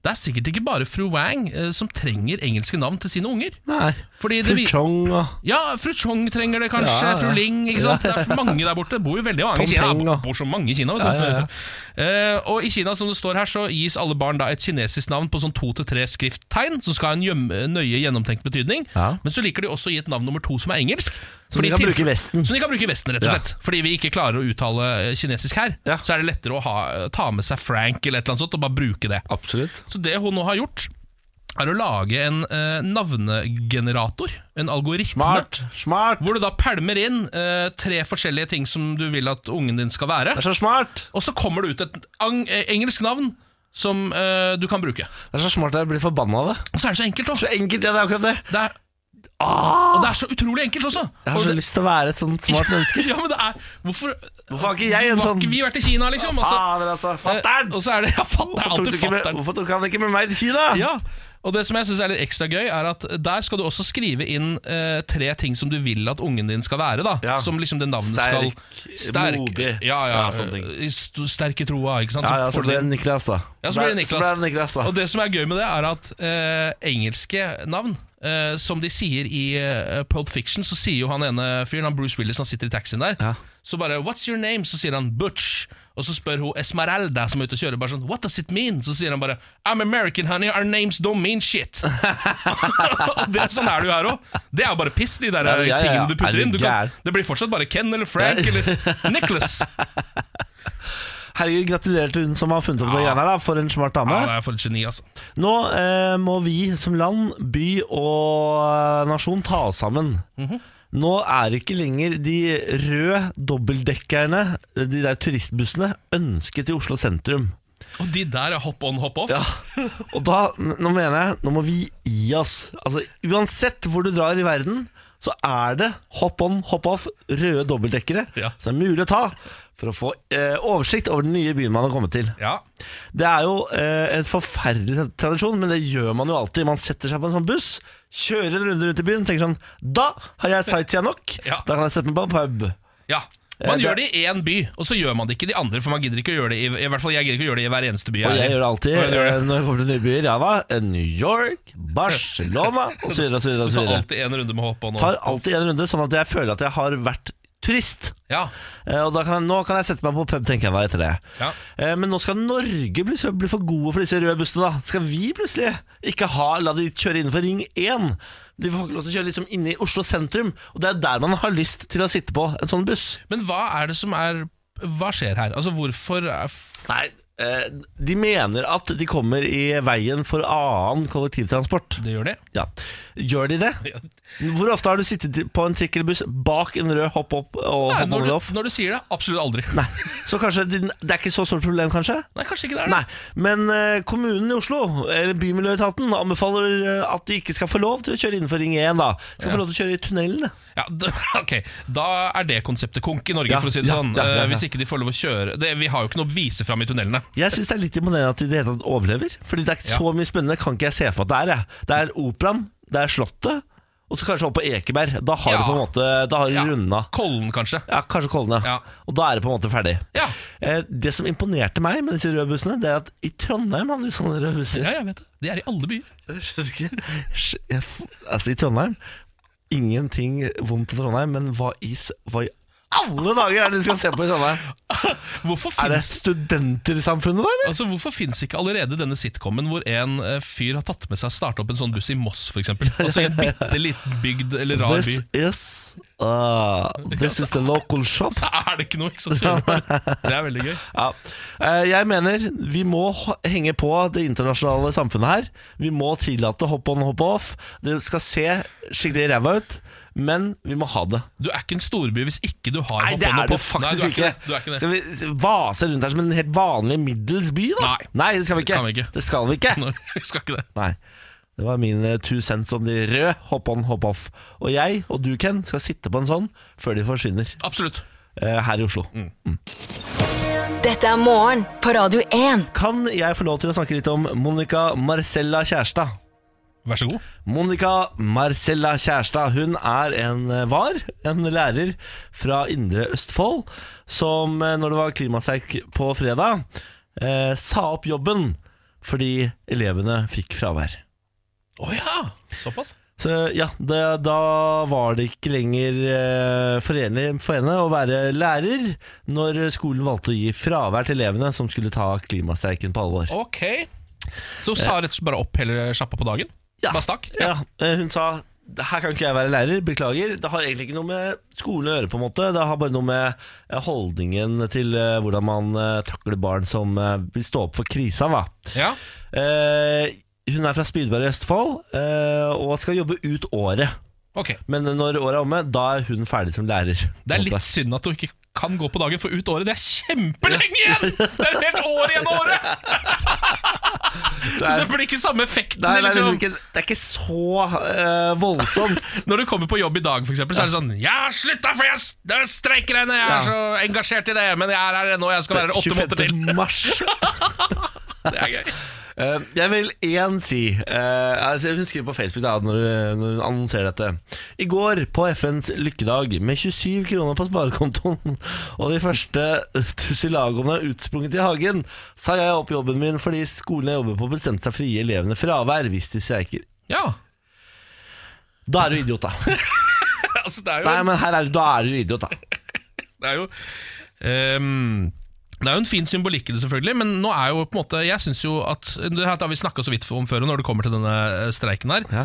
B: det er sikkert ikke bare fru Wang eh, som trenger engelske navn til sine unger.
A: Nei.
B: Fordi det vi-
A: Fruchong og
B: ja, fru Chong trenger det kanskje,
A: Ja, ja.
B: fru Ling ikke sant? Det er mange der borte, det bor jo veldig mange
A: Tom
B: i Kina.
A: Peng,
B: Det
A: da.
B: bor så mange i Kina, vet du.
A: Ja, ja, ja.
B: Eh, og i Kina, som det står her, så gis alle barn da et kinesisk navn på sånn to til tre skrifttegn, som skal ha en gjem- nøye gjennomtenkt betydning.
A: Ja.
B: Men så liker de også å gi et navn nummer to som er engelsk.
A: Som de
B: Fordi
A: kan
B: tilf-
A: bruke i Vesten.
B: Som de kan bruke i Vesten, rett og
A: Ja.
B: slett. Fordi vi ikke klarer å uttale eh, kinesisk her,
A: Ja.
B: så er det lettere å ha, ta med seg Frank eller et eller annet sånt, og bare bruke det.
A: Absolutt.
B: Så det hun nå har gjort er å lage en eh, navnegenerator, en algoritme,
A: Smart. Smart.
B: hvor du da pælmer inn eh, tre forskjellige ting som du vil at ungen din skal være.
A: Det er så smart.
B: Og så kommer det ut et ang eh, engelsk navn som eh, du kan bruke.
A: Det er så smart at jeg blir forbanna av det.
B: Og så er det så enkelt også.
A: Så enkelt, ja, det er akkurat det.
B: Det er,
A: Ah,
B: og det er så utrolig enkelt også.
A: jeg har
B: Og
A: så
B: det-
A: lyst til å være et sånt smart menneske.
B: Ja, men det er, hvorfor
A: Hvorfor har ikke jeg en
B: Hvorfor har
A: sånn-
B: ikke vi vært i Kina, liksom? Og så-
A: Fader, altså.
B: eh,
A: Fatter'n!
B: Og så er det ja, fatter'n.
A: Hvorfor tok
B: Alltid
A: du ikke med-
B: fatter'n.
A: hvorfor tok han ikke med meg til Kina?
B: Ja, og det som jeg synes er litt ekstra gøy Er at der skal du også skrive inn eh, Tre ting som du vil at ungen din skal være da,
A: Ja.
B: Som liksom det navnet
A: Sterk,
B: skal
A: modig.
B: ja, ja,
A: Ja, sånne ting.
B: eh, st- Sterk i troa ikke sant?
A: Ja, ja,
B: får
A: så
B: du
A: ble
B: det-
A: det Niklas, da.
B: Ja, så ble det Niklas.
A: Så ble det Niklas da.
B: Og det som er gøy med det er at eh, Engelske navn eh, Som de sier i eh, Pulp Fiction Så sier jo han ene fyren, han Bruce Willis Han sitter i taxien der
A: Ja.
B: Så bare, what's your name? Så sier han Butch Og så spør hun Esmeralda som er ute og kjører Bare sånn, what does it mean? Så sier han bare I'm American honey, our names don't mean shit Og det, sånn er det jo her også Det er jo bare piss, de der
A: Ja, ja, ja.
B: tingene du
A: Er
B: putter
A: du
B: inn du kan,
A: gæren?
B: Det blir fortsatt bare Ken eller Frank
A: Ja.
B: eller Nicholas
A: Herregud, gratulerer til hun som har funnet opp det
B: Ja.
A: greiene her, da. For en smart dame.
B: Ja, det er for et geni, altså.
A: Nå eh, må vi som land, by og eh, nasjon ta oss sammen. Nå er det ikke lenger de røde dobbeltdekkerne, de der turistbussene, ønsket i Oslo sentrum.
B: Og de der er hopp on, hopp off.
A: Ja. Og da, n- nå mener jeg, nå må vi gi oss. Altså, uansett hvor du drar i verden, så er det hopp on, hopp off, røde dobbeltdekkere
B: Ja.
A: som er mulig å ta for å få eh, oversikt over den nye byen man har kommet til.
B: Ja.
A: Det er jo eh, en forferdelig tra- tradisjon, men det gjør man jo alltid. Man setter seg på en sånn buss, kjører en runde rundt i byen, tenker sånn Da har jeg sightseer nok!
B: Ja.
A: Da kan jeg sette meg på en pub.
B: ja. Man
A: Eh,
B: gjør det i én by, og så gjør man det ikke i de andre. For man gidder ikke å gjøre det i, i hvert fall jeg gidder ikke å gjøre det i hver eneste by
A: Og jeg
B: er i.
A: gjør det alltid
B: Og jeg gjør det.
A: eh, når jeg kommer til nye byer. Ja da. eh, New York, Barcelona osv.
B: Du tar
A: videre.
B: alltid en runde med hopp on. og-
A: Tar alltid en runde, sånn at jeg føler at jeg har vært turist.
B: Ja.
A: Eh, Og da kan jeg, nå kan jeg sette meg på pub, tenker jeg meg etter det.
B: Ja.
A: Eh, Men nå skal Norge plutselig bli for gode for disse røde bussene, da. Skal vi plutselig ikke ha, la de kjøre innenfor Ring 1? De får ikke lov til å kjøre liksom inne i Oslo sentrum, og det er der man har lyst til å sitte på en sånn buss.
B: Men hva er det som er Hva skjer her? Altså, hvorfor er f-
A: Nei, eh, de mener at de kommer i veien for annen kollektivtransport.
B: Det gjør de.
A: Ja. Gjør de det?
B: Ja.
A: Hvor ofte har du sittet på en trikk eller buss bak en rød hopp opp og
B: Nei,
A: hopp
B: når,
A: over
B: du,
A: off?
B: når du sier det, absolutt aldri.
A: Nei. Så kanskje det det er ikke så stort problem, kanskje?
B: Nei, kanskje ikke det er det.
A: Nei, men eh, kommunen i Oslo, eller Bymiljøetaten, anbefaler eh, at de ikke skal få lov til å kjøre innenfor Ring 1. da Skal få lov til å kjøre i tunnelene.
B: Ja, d ok, Da er det konseptet konk i Norge,
A: Ja,
B: for å si det
A: ja,
B: sånn.
A: ja, ja,
B: Eh,
A: ja.
B: Hvis ikke de får lov å kjøre det, Vi har jo ikke noe å vise fram i tunnelene.
A: Jeg syns det er litt imponerende at de i det hele tatt overlever. Fordi det er ikke
B: Ja.
A: så mye spennende, kan ikke jeg se for meg at det er. Jeg. Det er Operaen, det er Slottet, og så kanskje opp på Ekeberg. Da har
B: Ja.
A: du på en måte Da har du
B: Ja.
A: runda.
B: Kollen, kanskje.
A: Ja, kanskje Kolne.
B: Ja.
A: Og da er det på en måte ferdig.
B: Ja.
A: Eh, det som imponerte meg med disse røde bussene, Det er at i Trondheim hadde du sånne røde busser.
B: Ja, jeg vet det. De er i alle byer.
A: Jeg skjønner ikke Sj- jeg, f- Altså i Trondheim Ingenting vondt i Trondheim Men hva i, s- hva i alle dager er det de skal se på i Trondheim?
B: Hvorfor
A: Er det
B: finnes,
A: studenter i samfunnet da, eller?
B: altså, hvorfor finnes ikke allerede denne sitcomen hvor en eh, fyr har tatt med seg å starte opp en sånn buss i Moss, f.eks.? Altså i en bitte liten bygd eller rar by.
A: This is uh, This is the local shop
B: Så er det ikke noe som skjer. Det er veldig gøy.
A: ja. Eh, Jeg mener vi må h- henge på det internasjonale samfunnet her Vi må tillate hopp on, hopp off Det skal se skikkelig ræva ut Men vi må ha det
B: Du er ikke en storby hvis ikke du har
A: Nei, det
B: hopp on,
A: er du
B: hopp off.
A: faktisk
B: Nei, du er
A: ikke.
B: det. Du er ikke det.
A: Skal vi vase rundt her som en helt vanlig middels by, da?
B: Nei.
A: det skal vi ikke.
B: Det kan vi ikke.
A: Det skal vi ikke.
B: Nei, jeg skal ikke det.
A: Nei. Det var mine two cents om de røde. Hopp on, hopp off. Og jeg og du, Ken, skal sitte på en sånn før de forsvinner
B: Absolutt.
A: eh, her i Oslo.
B: Mm.
C: Dette er morgen på Radio 1.
A: Kan jeg få lov til å snakke litt om Monica Marcella Kjærstad?
B: Vær så god.
A: Monica Marcella Kjærstad Hun er en eh, var, en lærer fra Indre Østfold Som eh, når det var klimasterk på fredag eh, Sa opp jobben fordi elevene fikk fravær
B: Å ja! Såpass?
A: så ja, det, da var det ikke lenger eh, forenlig for henne å være lærer Når skolen valgte å gi fravær til elevene som skulle ta klimastreiken på alvor
B: Ok. Så hun sa rett og slett bare opp hele sjappa på dagen?
A: Ja.
B: Bare stakk?
A: Ja, eh, hun sa her kan ikke jeg være lærer, beklager. Det har egentlig ikke noe med skolen å gjøre. på en måte Det har bare noe med eh, holdningen til eh, hvordan man eh, takler barn som eh, vil stå opp for krisa. da
B: Ja.
A: Eh, Hun er fra Spydberg i Østfold eh, og skal jobbe ut året.
B: Ok.
A: Men når året er omme, da er hun ferdig som lærer.
B: Det
A: på
B: er
A: en måte.
B: litt synd at hun ikke kan gå på dagen, for ut året Det er kjempelenge igjen! Det er et helt år igjen av året! Det blir ikke samme effekten.
A: Nei, det, er liksom
B: liksom.
A: ikke, det er ikke så eh, voldsomt.
B: Når du kommer på jobb i dag, for eksempel, så er det sånn 'Jeg har slutta, for jeg s- det er streikerne! Jeg er så engasjert i det, men jeg er her ennå, jeg skal være her åtte måneder til.'
A: 25. mars.
B: Det er gøy.
A: Eh, jeg vil én si eh, altså, Hun skriver på Facebook da, når, når hun annonserer dette. I går, på FNs lykkedag, med 27 kroner på sparekontoen og de første tussilagoene utsprunget i hagen, sa jeg opp jobben min fordi skolen jeg jobber på, bestemte seg for å gi elevene fravær hvis de streiker.
B: Ja.
A: Da er du idiot, da.
B: Altså, det er jo
A: Nei, men her er du, da er du idiot, da.
B: Det er jo ehm, Det er jo en fin symbolikk i det, selvfølgelig, men nå er jo på en måte Jeg synes jo at Det her har vi snakka så vidt om før, og når det kommer til denne eh, streiken her.
A: Ja.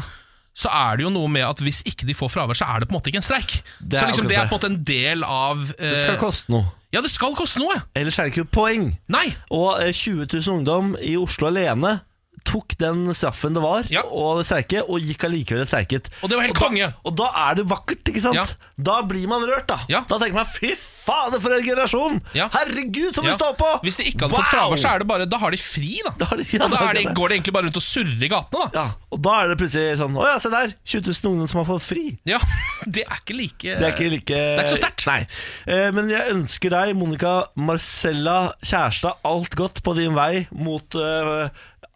B: Så er det jo noe med at hvis ikke de får fravær, så er det på en måte ikke en streik.
A: Det
B: så
A: er
B: liksom
A: akkurat
B: det er
A: det.
B: på en måte en del av eh,
A: Det skal koste noe.
B: Ja, det skal koste noe!
A: Ellers er det ikke poeng.
B: Nei!
A: Og eh, 20 000 ungdom i Oslo alene tok den straffen det var,
B: Ja.
A: og streike, og gikk allikevel og streiket.
B: Og det var helt
A: da,
B: konge.
A: Og da er det vakkert, ikke sant?
B: Ja.
A: Da blir man rørt, da.
B: Ja.
A: Da tenker man fy fader, for en generasjon!
B: Ja.
A: Herregud, som
B: Ja.
A: de står på!
B: Hvis de ikke hadde fått fravær, så er det bare, da har de fri, da.
A: Da har de- ja,
B: og da
A: det
B: er de,
A: er det.
B: går de egentlig bare rundt og surrer i gatene, da.
A: Ja, Og da er det plutselig sånn Å ja, se der! 20 000 ungdom som har fått fri.
B: Ja, Det er ikke like
A: Det er ikke like Det
B: er ikke så sterkt.
A: Nei. Eh, Men jeg ønsker deg, Monica Marcella Kjærstad, alt godt på din vei mot eh,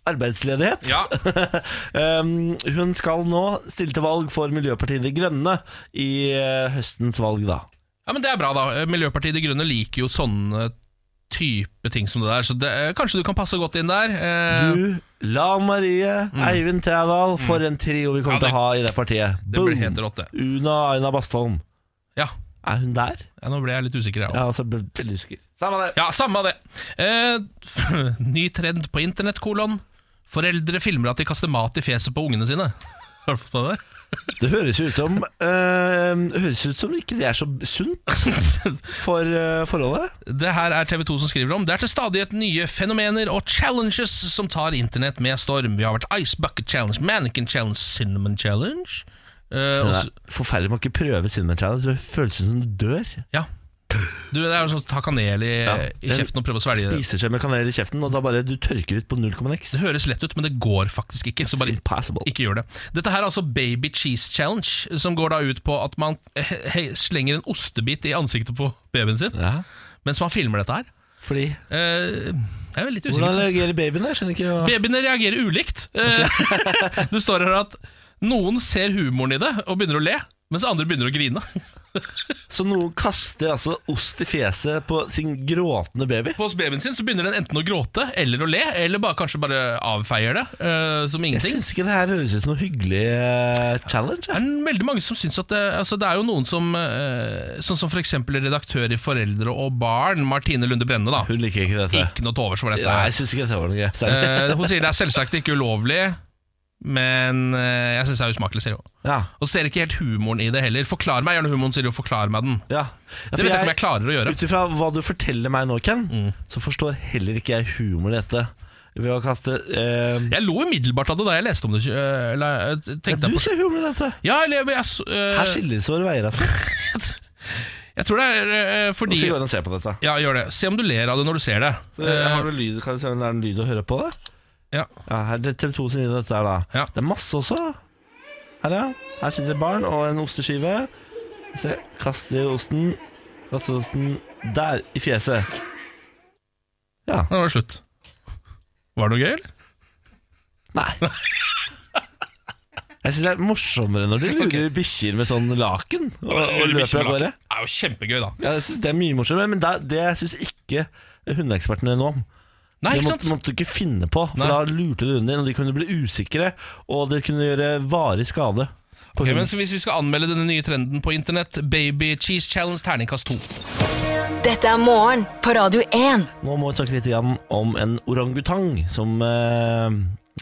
A: arbeidsledighet.
B: Ja.
A: Um, Hun skal nå stille til valg for Miljøpartiet De Grønne i eh, høstens valg, da.
B: Ja, men Det er bra, da. Eh, Miljøpartiet De Grønne liker jo sånne type ting som det der, så det, eh, kanskje du kan passe godt inn der. Eh,
A: Du, Lan Marie, Eivind Trædal, for en trio vi kommer
B: Mm. Ja, det-
A: til å ha i det partiet.
B: det blir
A: Boom.
B: helt rått, det.
A: Una Aina Bastholm.
B: Ja,
A: Er hun der?
B: ja, Nå ble jeg litt usikker, jeg òg.
A: Ja, altså, ble veldig usikker. Samme det.
B: Ja, samme av det. Eh, ny trend på internett, kolon. Foreldre filmer at de kaster mat i fjeset på ungene sine. Har du fått med deg
A: Det høres jo ut som eh, Høres ut som ikke det er så sunt
B: det?
A: for eh, forholdet.
B: Det her er TV 2 som skriver om. Det er til stadighet nye fenomener og challenges som tar internett med storm. Vi har vært Ice Bucket Challenge, Mannequin Challenge, Cinnamon Challenge. Eh, og
A: Det
B: så-
A: er forferdelig man ikke prøve Cinnamon Challenge. Det føles ut som du dør.
B: ja. Du, det er jo sånn å ta kanel i,
A: Ja.
B: i kjeften og prøve å svelge det.
A: Spiser seg med kanel i kjeften, og da bare du tørker ut på null komma niks.
B: Det høres lett ut, men det går faktisk ikke. Så bare
A: Impossible.
B: ikke gjør det. Dette her er altså Baby Cheese Challenge, som går da ut på at man eh, he- slenger en ostebit i ansiktet på babyen sin
A: Ja,
B: mens man filmer dette her.
A: fordi
B: Eh, jeg er litt usikker.
A: Hvordan reagerer babyen? Jeg skjønner ikke hva
B: Babyene reagerer ulikt. Eh, Det står her at noen ser humoren i det og begynner å le, mens andre begynner å grine.
A: Så noen kaster altså ost i fjeset på sin gråtende baby?
B: På hos babyen sin så begynner den enten å gråte eller å le, eller bare, kanskje bare avfeier det eh, som
A: Jeg
B: ingenting.
A: syns ikke det her høres ut som noe hyggelig eh, challenge.
B: Det
A: jeg.
B: er veldig mange som syns at det, altså det er jo noen som eh, Sånn som f.eks. redaktør i Foreldre og barn, Martine Lunde Brenne, da.
A: Hun eh, liker ikke dette.
B: Ikke noe til overs for dette.
A: Nei, jeg syns ikke dette var noe gøy. Særlig.
B: Eh, hun sier det er selvsagt ikke ulovlig, men eh, jeg syns det er usmakelig, sier hun.
A: Ja,
B: Og ser ikke helt humoren i det heller. Forklar meg gjerne humoren, sier hun. Forklar meg den.
A: ja. ja
B: Det vet jeg ikke om jeg klarer å gjøre.
A: Ut ifra hva du forteller meg nå, Ken,
B: Mm.
A: så forstår heller ikke jeg humor i dette. Ved å kaste eh,
B: Jeg lo umiddelbart av det da jeg leste om det. øh, Eller øh,
A: ja,
B: tenkte
A: Du
B: jeg på
A: ser humor i dette!
B: Ja, eller jeg, s- øh,
A: Her skilles våre veier, altså.
B: jeg tror det er øh,
A: Nå
B: fordi Eh,
A: skal vi gå inn og se på dette.
B: Ja, gjør det. Se om du ler av det når du ser det.
A: Så, har du lyd, kan du se om det er en lyd å høre på? Det?
B: Ja.
A: Ja, her er det TV 2 sin idé, dette her, da.
B: Ja.
A: Det er masse også. Her, ja. Her sitter et barn og en osteskive. Se, kaster osten. Kaster osten der, i fjeset. Ja.
B: Nå var det slutt. Var det noe gøy, eller?
A: Nei. Jeg syns det er morsommere når de lurer bikkjer med sånn laken og, og løper av gårde.
B: Det er jo kjempegøy, da.
A: Ja, jeg synes det er mye morsommere, men det, det syns ikke hundeekspertene noe om.
B: Nei,
A: det
B: Ah, ikke
A: måtte,
B: sant?
A: måtte du ikke finne på, for
B: Nei.
A: da lurte du hunden din, og de kunne bli usikre, og det kunne gjøre varig skade. På
B: Ok,
A: hunden.
B: men så Hvis vi skal anmelde denne nye trenden på internett, Baby Cheese Challenge terningkast to.
C: Dette er morgen på Radio 1.
A: Nå må vi snakke litt igjen om en orangutang som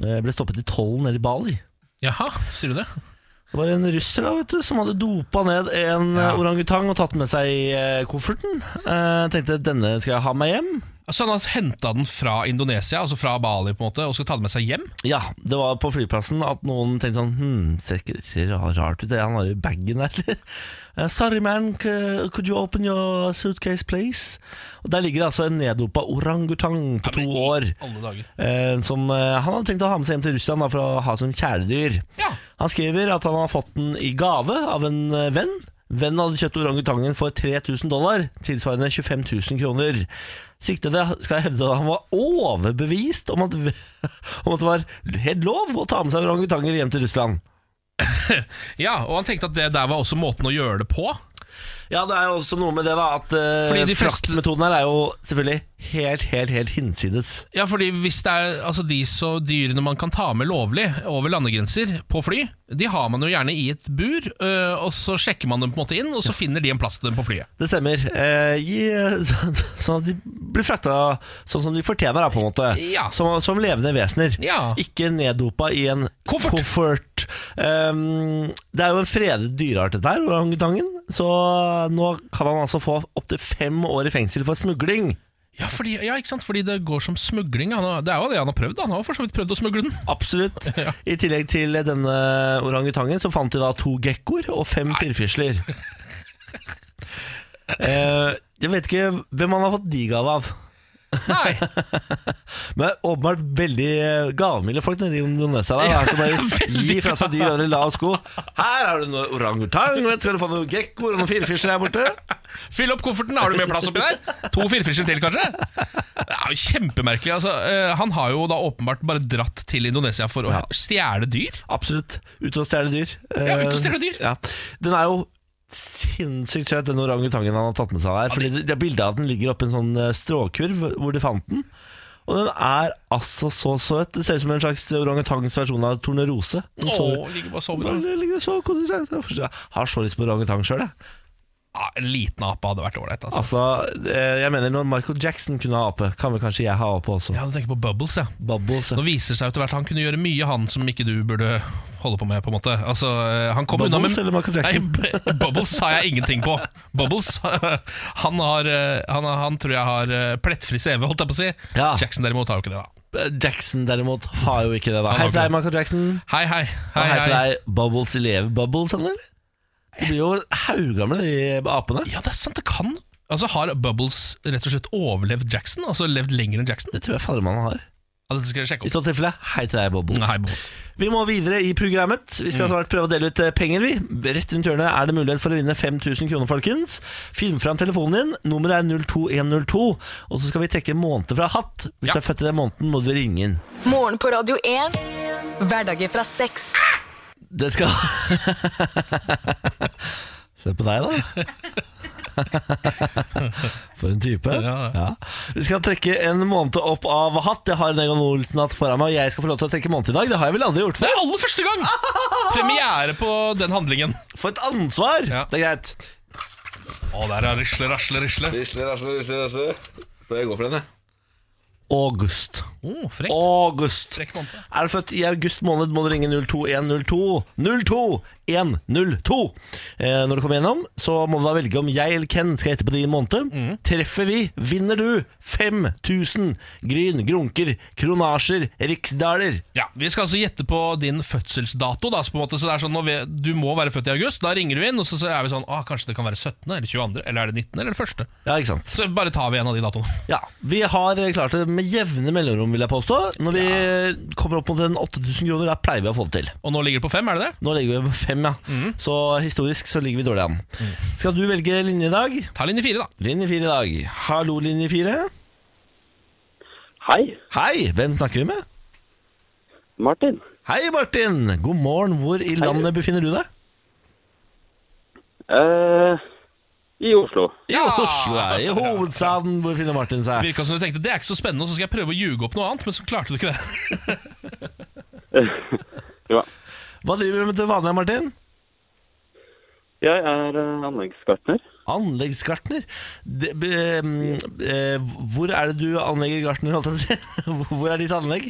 A: eh, ble stoppet i tollen nede i Bali.
B: Jaha, sier du det?
A: Det var en russer da, vet du, som hadde dopa ned en
B: Ja.
A: eh, orangutang og tatt den med seg i eh, kofferten. Eh, tenkte denne skal jeg ha med hjem.
B: Altså Han har henta den fra Indonesia, altså fra Bali, på en måte og skal ta den med seg hjem?
A: Ja, det var på flyplassen at noen tenkte sånn Hm, ser ikke ser ra- rart ut det han har i bagen der, eller? Eh, Sorry man, c- could you open your suitcase please? Og der ligger det altså en neddopa orangutang på
B: Ja,
A: to
B: men i
A: år.
B: Alle dager.
A: eh, Som eh, han hadde tenkt å ha med seg hjem til Russland da, for å ha som kjæledyr.
B: Ja.
A: Han skriver at han har fått den i gave av en eh, venn. Vennen hadde kjøpt orangutangen for 3000 dollar, tilsvarende 25 000 kroner. Siktede skal hevde at han var overbevist om at, om at det var helt lov å ta med seg orangutanger hjem til Russland.
B: Ja, og han tenkte at det der var også måten å gjøre det på.
A: Ja, det er jo også noe med det, da, at
B: Fordi
A: eh,
B: de fleste-
A: fraktmetoden her er jo selvfølgelig helt, helt, helt hinsides.
B: Ja, fordi hvis det er altså de så dyrene man kan ta med lovlig over landegrenser på fly, de har man jo gjerne i et bur, øh, og så sjekker man dem på en måte inn, og så finner de en plass til dem på flyet.
A: Det stemmer. Eh, gi, så- sånn at de blir frakta sånn som de fortjener, da, på en måte.
B: Ja.
A: Som, som levende vesener.
B: Ja.
A: Ikke neddopa i en
B: Koffert.
A: koffert. Ehm, det er jo en fredet dyreart, dette her, orangutangen. Så nå kan han altså få opptil fem år i fengsel for smugling.
B: Ja, fordi, ja, ikke sant? fordi det går som smugling. Han har, det er jo det han har prøvd. da. Han har jo for så vidt prøvd å smugle den.
A: Absolutt. I tillegg til denne orangutangen så fant de da to gekkoer og fem firfisler. Eh, jeg vet ikke hvem han har fått de gave av,
B: Nei,
A: men åpenbart veldig eh, gavmilde folk nede i Indonesia. Da, der, som bare gir fra seg de og lav sko. Her har du noe orangutang, vet, du, skal du få noen gekkoer og noen firfisler her borte?
B: Fyll opp kofferten, har du mer plass oppi der? To firfisler til, kanskje? Det er jo kjempemerkelig. altså. Eh, Han har jo da åpenbart bare dratt til Indonesia for å stjele dyr.
A: Absolutt. Ute og stjele dyr.
B: Ja, ut og stjele dyr.
A: Eh, Ja. Den er jo sinnssykt søt, den orangutangen han har tatt med seg der. Fordi det, det er bilde av at den ligger oppi en sånn eh, stråkurv hvor de fant den. Og den er altså så søt. Det ser ut som en slags orangutangs versjon av tornerose. Den
B: Åh,
A: sover-
B: ligger bare og sover da.
A: Den ligger og sover, koser seg. Jeg forstår- jeg Har så lyst på orangutang sjøl, jeg.
B: Ja, En liten ape hadde vært ålreit. Altså.
A: Altså, eh, jeg mener, når Michael Jackson kunne ha ape, kan vel kanskje jeg ha ape også.
B: Ja, du tenker på Bubbles, ja.
A: Bubbles.
B: Nå viser det seg etter hvert han kunne gjøre mye, han som ikke du burde holde på med. på en måte Altså, eh, han kom unna
A: Bubbles
B: med
A: eller Michael Jackson?
B: Nei, B- Bubbles har jeg ingenting på. Bubbles Han, har, eh, han, har- han tror jeg har eh, plettfri CV, holdt jeg på å si.
A: Ja.
B: Jackson derimot har jo ikke det, da.
A: Eh, Jackson derimot har jo ikke det, da.
B: har
A: Hei til
B: ikke
A: deg, Michael Jackson.
B: Hei, hei.
A: Hei,
B: hei,
A: hei.
B: hei.
A: til deg Bubbles elever Bubbles, han, eller? De blir jo haugamle, de apene.
B: Ja, det er sant, det kan Altså Har Bubbles rett og slett overlevd Jackson? Altså levd lenger enn Jackson?
A: Det tror jeg fader man har.
B: Ja, dette skal jeg
A: I
B: sjekke opp.
A: så tilfelle, hei til deg, Bubbles.
B: Hei, Mm. Bubbles.
A: Vi må videre i programmet. Vi skal snart prøve å dele ut eh, penger, vi. Rett rundt hjørnet er det mulighet for å vinne 5000 kroner, folkens. Film fram telefonen din. Nummeret er 02102. Og så skal vi trekke en måned fra hatt. Hvis
B: Ja.
A: du er født i den måneden, må du ringe inn.
C: Morgen på Radio 1. Hverdager fra seks.
A: Det skal Se på deg, da. For en type.
B: Ja, ja.
A: Vi skal trekke en måned opp av hatt. Jeg har en Egon Olsen-hatt foran meg, og jeg skal få lov til å trekke måned i dag. Det har jeg vel aldri gjort
B: Det
A: før.
B: er aller første gang! Premiere på den handlingen.
A: For et ansvar!
B: Ja.
A: Det er greit.
B: Å, der er risle, rasle, risle.
A: Risle, rasle, risle, rasle. Skal jeg gå for den, jeg? August.
B: Oh, frekk.
A: August.
B: Frekk måned.
A: Er du født i august måned, må du ringe 02102 02102. Eh, når du kommer gjennom, så må du da velge om jeg eller Ken skal hete på din måned.
B: Mhm.
A: Treffer vi, vinner du 5000 gryn, grunker, kronasjer, riksdaler.
B: Ja, Vi skal altså gjette på din fødselsdato. Da, så på en måte, så det er sånn, nå vet, Du må være født i august. Da ringer du inn, og så, så er vi sånn ah, Kanskje det kan være 17., eller 22., eller er det 19., eller det første?
A: Ja, ikke sant?
B: Så bare tar vi en av de datoene.
A: Ja, Vi har eh, klart det med jevne mellomrom, vil jeg påstå. Når vi eh, kommer opp mot en 8000 kroner, da pleier vi å få det til.
B: Og nå ligger det på fem, er det det?
A: Nå ligger vi på fem, ja. Så historisk så ligger vi dårlig an. Skal du velge linje i dag?
B: Ta linje fire, da.
A: Linje fire i dag. Hallo, linje fire.
D: Hei,
A: Hei, hvem snakker vi med?
D: Martin.
A: Hei Martin, god morgen, hvor i landet befinner du deg?
D: Eh, I Oslo.
A: I Oslo, ja, i hovedstaden hvor finner Martin seg
B: Virka som du tenkte det er ikke så spennende, og så skal jeg prøve å ljuge opp noe annet. Men så klarte du ikke det.
D: Jo,
A: Hva driver du med til vanlig, Martin?
D: jeg er eh, anleggsgartner.
A: Anleggsgartner det, be, mm, eh, Hvor er det du anlegger gartner, holdt jeg på å si? Hvor er ditt anlegg?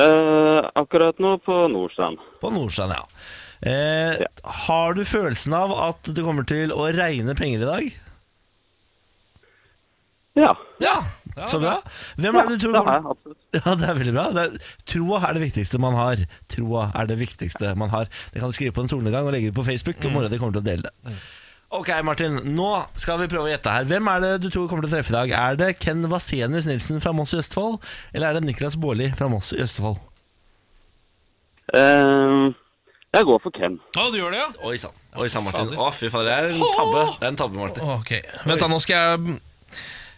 D: Eh, akkurat nå på Nordstrand.
A: På Nordstrand, ja eh, Har du følelsen av at det kommer til å regne penger i dag?
D: Ja,
A: Ja, så bra Hvem er det du tror
D: det har
A: kommer...
D: jeg absolutt.
A: Ja, det er veldig bra. Det er, troa er det viktigste man har. Troa er det viktigste man har. Det kan du skrive på en solnedgang og legge det på Facebook, og mora di kommer til å dele det. Ok, Martin. Nå skal vi prøve å gjette her. Hvem er det du tror kommer til å treffe i dag? Er det Ken Vasenius Nilsen fra Moss i Østfold, eller er det Niklas Baarli fra Moss i Østfold?
D: Eh, jeg går for Ken.
B: Å, du gjør det, ja?
A: Oi sann, Oi, sann, Martin. Å, fy fader, det er en tabbe, Det er en tabbe, Martin.
B: Ok, Vent, da, nå skal jeg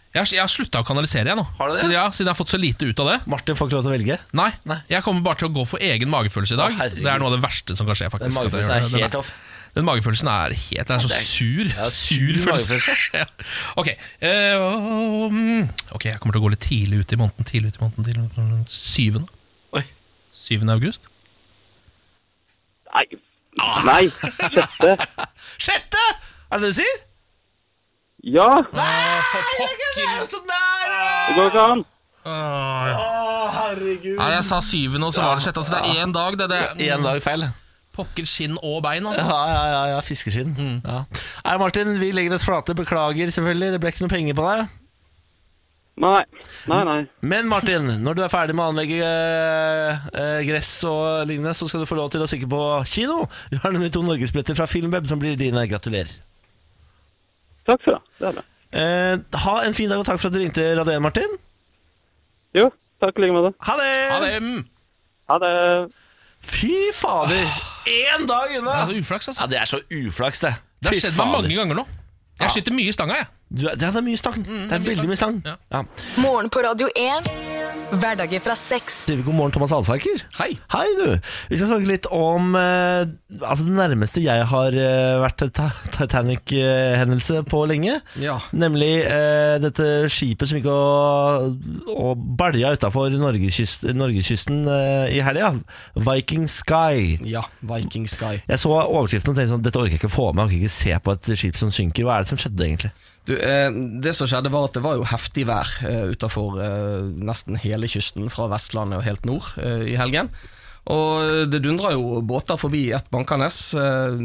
B: Jeg har, jeg har slutta å kanalisere, jeg nå.
A: Har du det?
B: Siden, ja, siden jeg har fått så lite ut av det.
A: Martin får ikke lov til å velge.
B: Nei,
A: Nei.
B: jeg kommer bare til å gå for egen magefølelse i dag.
A: Å, herregud.
B: det er noe av det verste som kan skje. faktisk
A: Den
B: at jeg
A: magefølelsen
B: gjør
A: er
B: det. Den
A: helt off.
B: Den magefølelsen er helt Den er så
A: det er-
B: sur.
A: sur
B: sur følelse. ja. Ok. eh, um, ok, jeg kommer til å gå litt tidlig ut i måneden. Tidlig ut i måneden tidlig ut i måneden. Syvende.
A: Oi.
B: Syvende august?
D: Nei, nei, sjette.
A: Sjette! Er det det du sier?
D: Ja,
B: Å, for pokker!
A: Så nær!
D: det går ikke an.
B: Å, ja.
A: Å, herregud.
B: Nei, jeg sa syvende, og så var det sjette. Altså, det er én dag. Det, det,
A: Én dag feil.
B: Pokker skinn og bein, altså.
A: Ja, ja, ja, ja fiskeskinn.
B: Mm.
A: Ja. Nei, Martin, vi legger oss flate. Beklager, selvfølgelig. Det ble ikke noe penger på deg.
D: Nei. Nei, nei.
A: Men Martin, når du er ferdig med å anlegge eh, eh, gress og lignende, så skal du få lov til å stikke på kino. Vi har nemlig to norgesbilletter fra Filmweb som blir dine. Gratulerer.
D: Takk for det. Det er bra.
A: Eh, ha en fin dag, og takk for at du ringte Radio 1, Martin.
D: Jo, takk i like måte.
A: Ha det!
B: Ja, det, mm.
D: Ha det.
A: Fy fader! Én dag unna!
B: Ah. det er så uflaks, altså.
A: Ja, det er så uflaks, det.
B: Det har
A: Fy
B: skjedd meg
A: fader.
B: mange ganger nå. Jeg sitter mye i stanga, jeg.
A: Du, det er så mye stang. det er
B: Mm, mye
A: veldig mye stang.
B: stang.
A: Ja.
C: Morgen på Radio 1. Hverdager fra seks.
A: Sier vi God morgen, Thomas Alsaker.
B: Hei.
A: Hei, du. Vi skal snakke litt om eh, altså det nærmeste jeg har eh, vært til ta- Titanic-hendelse på lenge.
B: Ja.
A: Nemlig eh, dette skipet som gikk og, og balja utafor norgeskysten, norgeskysten eh, i helga. Viking Sky.
E: Ja, Viking Sky.
A: Jeg så overskriften og tenkte sånn, dette orker jeg ikke få med. Jeg orker ikke se på et skip som synker. Hva er det som skjedde, egentlig?
E: Du, eh, det som skjedde var at det var jo heftig vær eh, utafor eh, nesten hele kysten fra Vestlandet og helt nord eh, i helgen. Og det dundra jo båter forbi et bankende. Eh,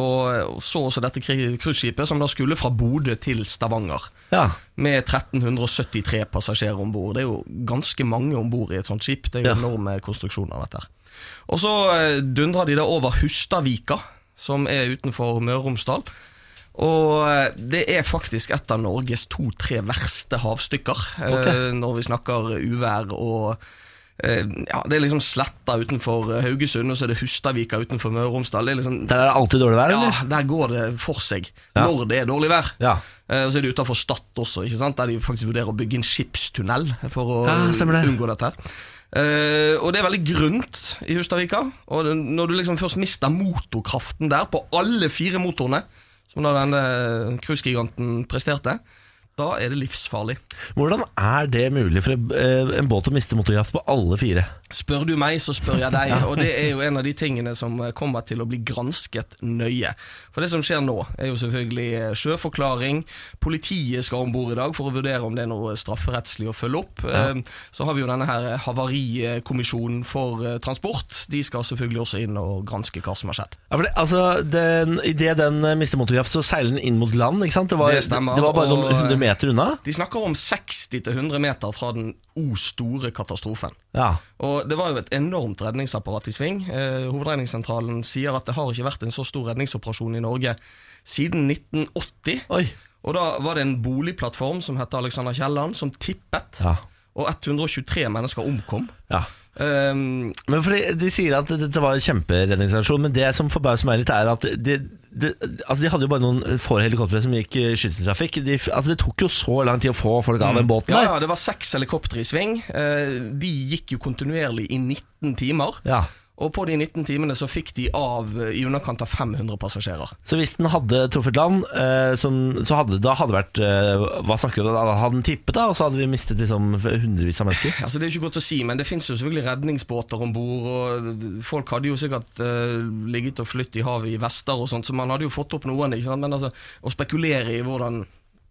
E: og så også dette kri- cruiseskipet som da skulle fra Bodø til Stavanger.
A: Ja,
E: Med 1373 passasjerer om bord. Det er jo ganske mange om bord i et sånt skip. Det er jo
A: Ja.
E: enorme konstruksjoner, dette her. Og så eh, dundrer de da over Hustadvika, som er utenfor Møre og Romsdal. Og eh, det er faktisk et av Norges to-tre verste havstykker, eh,
A: Ok.
E: når vi snakker uvær og eh, ja, Det er liksom Sletta utenfor eh, Haugesund, og så er det Hustadvika utenfor Møre og Romsdal. Det er liksom
A: Der er det alltid dårlig vær,
E: ja,
A: eller?
E: der går det for seg
A: Ja.
E: når det er dårlig vær.
A: Ja.
E: Eh, Og så er det utafor Stad også, ikke sant? der de faktisk vurderer å bygge en skipstunnel for å
A: Ja, stemmer det.
E: unngå dette. her. Eh, og det er veldig grunt i Hustadvika. Og det- når du liksom først mister motorkraften der, på alle fire motorene, som da denne cruisegiganten presterte, da er det livsfarlig.
A: Hvordan er det mulig for eh, en båt å miste motorkraft på alle fire?
E: Spør du meg, så spør jeg deg. Og det er jo en av de tingene som eh, kommer til å bli gransket nøye. For det som skjer nå, er jo selvfølgelig eh, sjøforklaring. Politiet skal om bord i dag for å vurdere om det er noe strafferettslig å følge opp. Eh, Så har vi jo denne her eh, havarikommisjonen for eh, transport. De skal selvfølgelig også inn og granske hva som har skjedd.
A: Ja, for det, altså, den, Idet den eh, mister motorkraft, så seiler den inn mot land. ikke sant? Det var,
E: Det stemmer,
A: det var bare noen
E: og-
A: hundre meter unna.
E: De snakker om 60-100 meter fra den o store katastrofen.
A: Ja,
E: Og Det var jo et enormt redningsapparat i sving. Eh, Hovedredningssentralen sier at det har ikke vært en så stor redningsoperasjon i Norge siden 1980.
A: Oi.
E: Og Da var det en boligplattform som het Alexander Kielland, som tippet.
A: Ja.
E: Og 123 mennesker omkom.
A: ja.
E: Um,
A: Men fordi De sier at dette var en kjemperedningsaksjon, men det som forbauser meg litt, er at de, de, altså de hadde jo bare noen få helikoptre som gikk eh, skytteltrafikk. De, altså det tok jo så lang tid å få folk av den båten
E: Mm. ja,
A: der.
E: ja, Det var seks helikoptre i sving. Eh, de gikk jo kontinuerlig i 19 timer.
A: Ja.
E: Og på de 19 timene så fikk de av eh, i underkant av 500 passasjerer.
A: Så hvis den hadde truffet land, eh, som, så hadde da hadde det vært eh, Hva snakker vi om? Da hadde den tippet, da, og så hadde vi mistet liksom hundrevis av mennesker?
E: Altså Det er jo ikke godt å si, men det fins selvfølgelig redningsbåter om bord. og Folk hadde jo sikkert eh, ligget og flytt i havet i vester og sånt, så man hadde jo fått opp noen. ikke sant? Men altså, å spekulere i hvordan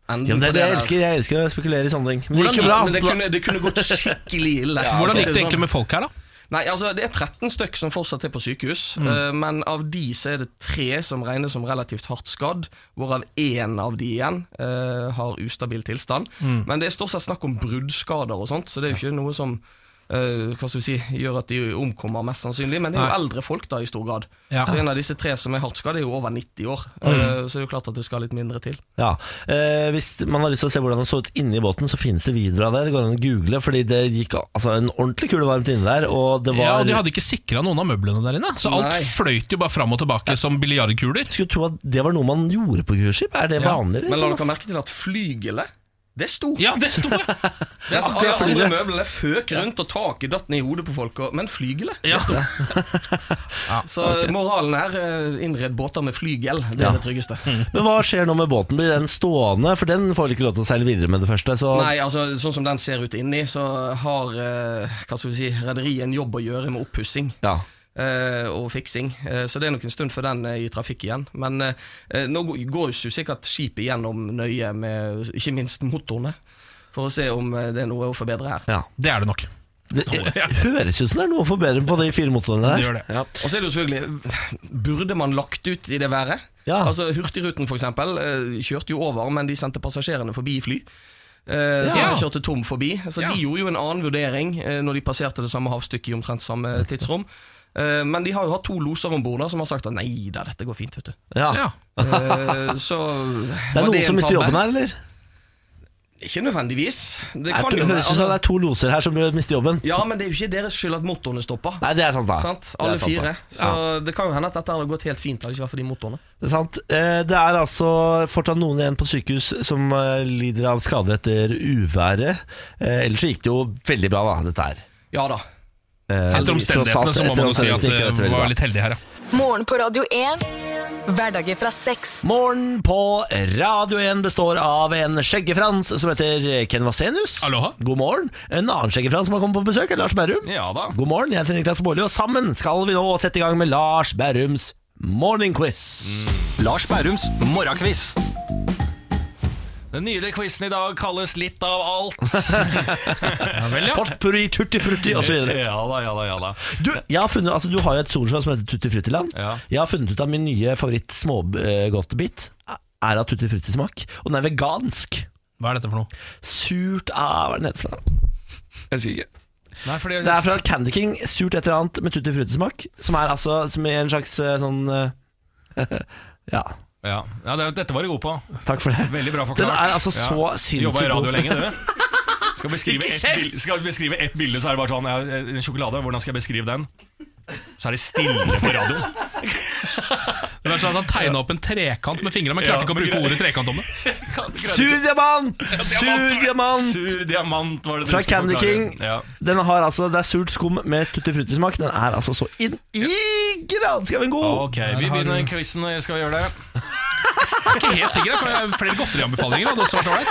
E: enden
A: Ja, men det er det jeg
E: der-
A: elsker. Jeg elsker å spekulere i sånne ting. Men
B: Hvordan
A: det gikk jo
E: Ja,
A: bra.
E: men det kunne, det kunne gått skikkelig ille.
B: Hvordan
E: For å si
B: gikk det
E: sånn.
B: egentlig med folk her, da?
E: Nei, altså Det er 13 stykk som fortsatt er på sykehus, eh, men av de så er det tre som regnes som relativt hardt skadd, hvorav én av de igjen eh, har ustabil tilstand. Men det er stort sett snakk om bruddskader og sånt, så det er jo ikke noe som eh, hva skal vi si, gjør at de omkommer, mest sannsynlig. Men det er jo
B: Nei.
E: eldre folk da i stor grad.
B: Ja.
E: Så en av disse tre som er hardt skadd, er jo over 90 år. Eh, så det er jo klart at det skal litt mindre til.
A: Ja, eh, Hvis man har lyst til å se hvordan det så ut inni båten, så finnes det videoer av det. Det går an å google, fordi det gikk altså, en ordentlig kule varmt inni der. Og det
B: Ja,
A: var
B: og De hadde ikke sikra noen av møblene der inne, så alt
E: Nei.
B: fløyt jo bare fram og tilbake som biljardkuler.
A: Jeg Skulle tro at det var noe man gjorde på cruiseskip. Er det
B: Ja,
A: vanlig?
E: Men la
A: Thomas?
E: dere merke til at flygelet, det sto.
B: Ja, det sto jeg!
E: Det
A: det
E: er,
A: er
E: alle andre
A: flygelet.
E: møblene føk rundt, og taket datt ned i hodet på folk, og, men flygelet
B: Ja.
E: Så moralen er eh, innred båter med flygel. Det er
A: Ja. Mm.
E: det tryggeste.
A: Men hva skjer nå med båten? Blir den stående? For den får ikke lov til å seile videre med det første. Så
E: Nei, altså Sånn som den ser ut inni, så har eh, hva skal vi si, rederiet en jobb å gjøre med oppussing.
A: ja.
E: eh, og fiksing, Eh, så det er nok en stund før den er i trafikk igjen. Men eh, eh, nå går- går jo sikkert skipet gjennom nøye med ikke minst motorene, for å se om eh, det er noe å forbedre her.
A: ja.
B: Det er det nok.
A: Det, det høres ut som det er noe å forbedre på de fire motorene der.
B: Det gjør det.
A: Ja.
E: Og så er det jo selvfølgelig Burde man lagt ut i det været?
A: Ja.
E: Altså Hurtigruten for eksempel eh, kjørte jo over, men de sendte passasjerene forbi i fly. Eh, Så
B: Ja.
E: de kjørte tom forbi. Så
B: Ja.
E: De gjorde jo en annen vurdering eh, når de passerte det samme havstykket i omtrent samme tidsrom. Eh, Men de har jo hatt to loser om bord som har sagt at nei da, dette går fint. vet du
A: Ja.
B: Ja.
E: Eh, Så
A: Det er noen som mister jobben her, eller?
E: Ikke nødvendigvis. Det
A: Det
E: kan jo
A: høres ut som det
E: være altså,
A: er to loser her som mister jobben.
E: Ja, men det er jo ikke deres skyld at motorene stopper.
A: Nei, det er sant, da.
E: Sant?
A: Det er
E: Alle
A: sant, da.
E: fire. Så
A: Ja.
E: det kan jo hende at dette hadde gått helt fint hadde det ikke vært for de motorene.
A: Det er sant. Eh, Det er altså fortsatt noen igjen på sykehus som eh, lider av skader etter uværet. Eh, Ellers så gikk det jo veldig bra, da, dette her.
E: Ja da.
A: Eh,
B: Etter omstendighetene så må man jo si at
A: gikk dette
B: vi
A: veldig bra.
B: var litt heldige her, ja.
C: Morgen på Radio 1. Hverdager fra seks.
A: Morgen på Radio 1 består av en skjeggefrans som heter Ken Vasenius.
B: Aloha.
A: God morgen. En annen skjeggefrans som har kommet på besøk, er Lars Berrum.
F: Ja da.
A: God morgen, jeg heter Niklas Baarli, og sammen skal vi nå sette i gang med Lars Berrums morning quiz.
F: Mm. Lars Bærums morgenquiz. Den nylige quizen i dag kalles Litt av alt.
B: ja vel, ja.
A: Potpurri, tutti frutti osv.
F: ja da, ja da, ja da.
A: Du, jeg har funnet, altså, du har jo et solslag som heter Tutti Fruttiland.
F: Ja.
A: Jeg har funnet ut av min nye favoritt smågodtbit er av tutti frutti-smak, og den er vegansk.
B: Hva er dette for noe?
A: Surt av Hva er den heter for noe?
E: Jeg sier ikke.
F: Nei, fordi,
A: Det er fra Candy King, surt et eller annet med tutti frutti-smak. Som er altså som er en slags eh, sånn eh, Ja,
F: ja, ja, det, dette var du god på.
A: takk for det.
F: Veldig bra
A: Den
F: forklart.
A: er altså så sinnssykt
F: Jobba i radio
A: god.
F: lenge, du. Skal beskrive, ett bilde, skal beskrive ett bilde, så er det bare sånn ja, En sjokolade, hvordan skal jeg beskrive den? Så er det stille på radioen.
B: Det var sånn at Han tegna opp en trekant med fingrene, men klarte
F: Ja,
B: ikke å
F: men
B: bruke
F: greit.
B: ordet trekant om det.
A: Sur diamant! Sur diamant!
F: Sur diamant var det du
A: Fra
F: skulle
A: Candy
F: forklare.
A: King.
F: Ja.
A: Den har altså, Det er surt skum med tutti frutti-smak. Den er altså så inn i granskauen god!
F: Ah, Ok, vi
B: har
F: begynner
B: du-
F: quizen. Skal vi gjøre det?
B: Jeg er ikke helt sikker, altså. jeg kan ha Flere godterianbefalinger hadde også vært ålreit.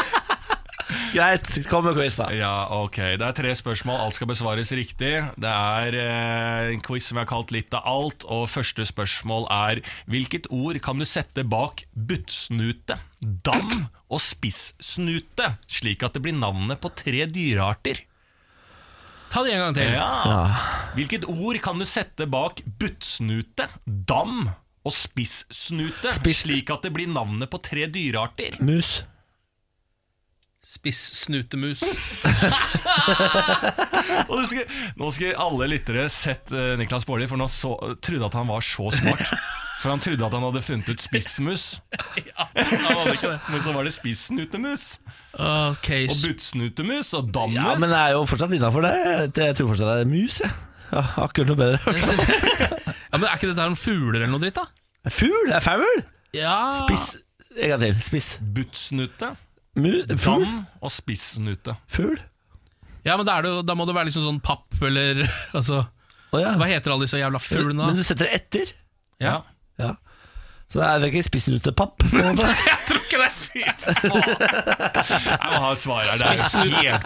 A: Greit, kom med quiz, da.
F: Ja, ok. Det er tre spørsmål, alt skal besvares riktig. Det er eh, en quiz som jeg har kalt litt av alt, og første spørsmål er Hvilket ord kan du sette bak buttsnute, dam og spissnute, slik at det blir navnet på tre dyrearter?
B: Ta det en gang til.
F: Ja. Hvilket ord kan du sette bak buttsnute, dam og spissnute,
A: Spiss-
F: slik at det blir navnet på tre dyrearter?
A: Mus.
B: Spissnutemus.
F: Og det skal, nå skal alle lyttere sett eh, Niklas Baarli, for nå så, trodde at han var så smart. For han trodde at han hadde funnet ut spissmus,
B: Ja, han hadde ikke det.
F: men så var det spissnutemus
B: Ok,
F: og
B: sp-
F: buttsnutemus og
A: Ja, men
F: dammus.
A: det er jo fortsatt innafor det. Jeg tror fortsatt det er mus, jeg. Ja, akkurat noe bedre.
B: ja, men Er ikke dette her om fugler eller noe dritt, da?
A: Fugl? Det er faul!
B: Ja.
A: Spiss. En gang til. Spiss.
F: Buttsnute,
A: Mu, fugl?
F: dam og spissnute.
A: Fugl?
B: ja, men da, er det, jo- da må det være liksom sånn papp eller altså,
A: Å ja.
B: Hva heter alle disse jævla fuglene,
A: Men
B: da?
A: du setter det etter?
F: Ja.
A: Ja. Så det er ikke spissnutepapp? på en måte.
B: Jeg tror ikke det!
F: Fy faen! Jeg må ha et svar her. Det er helt på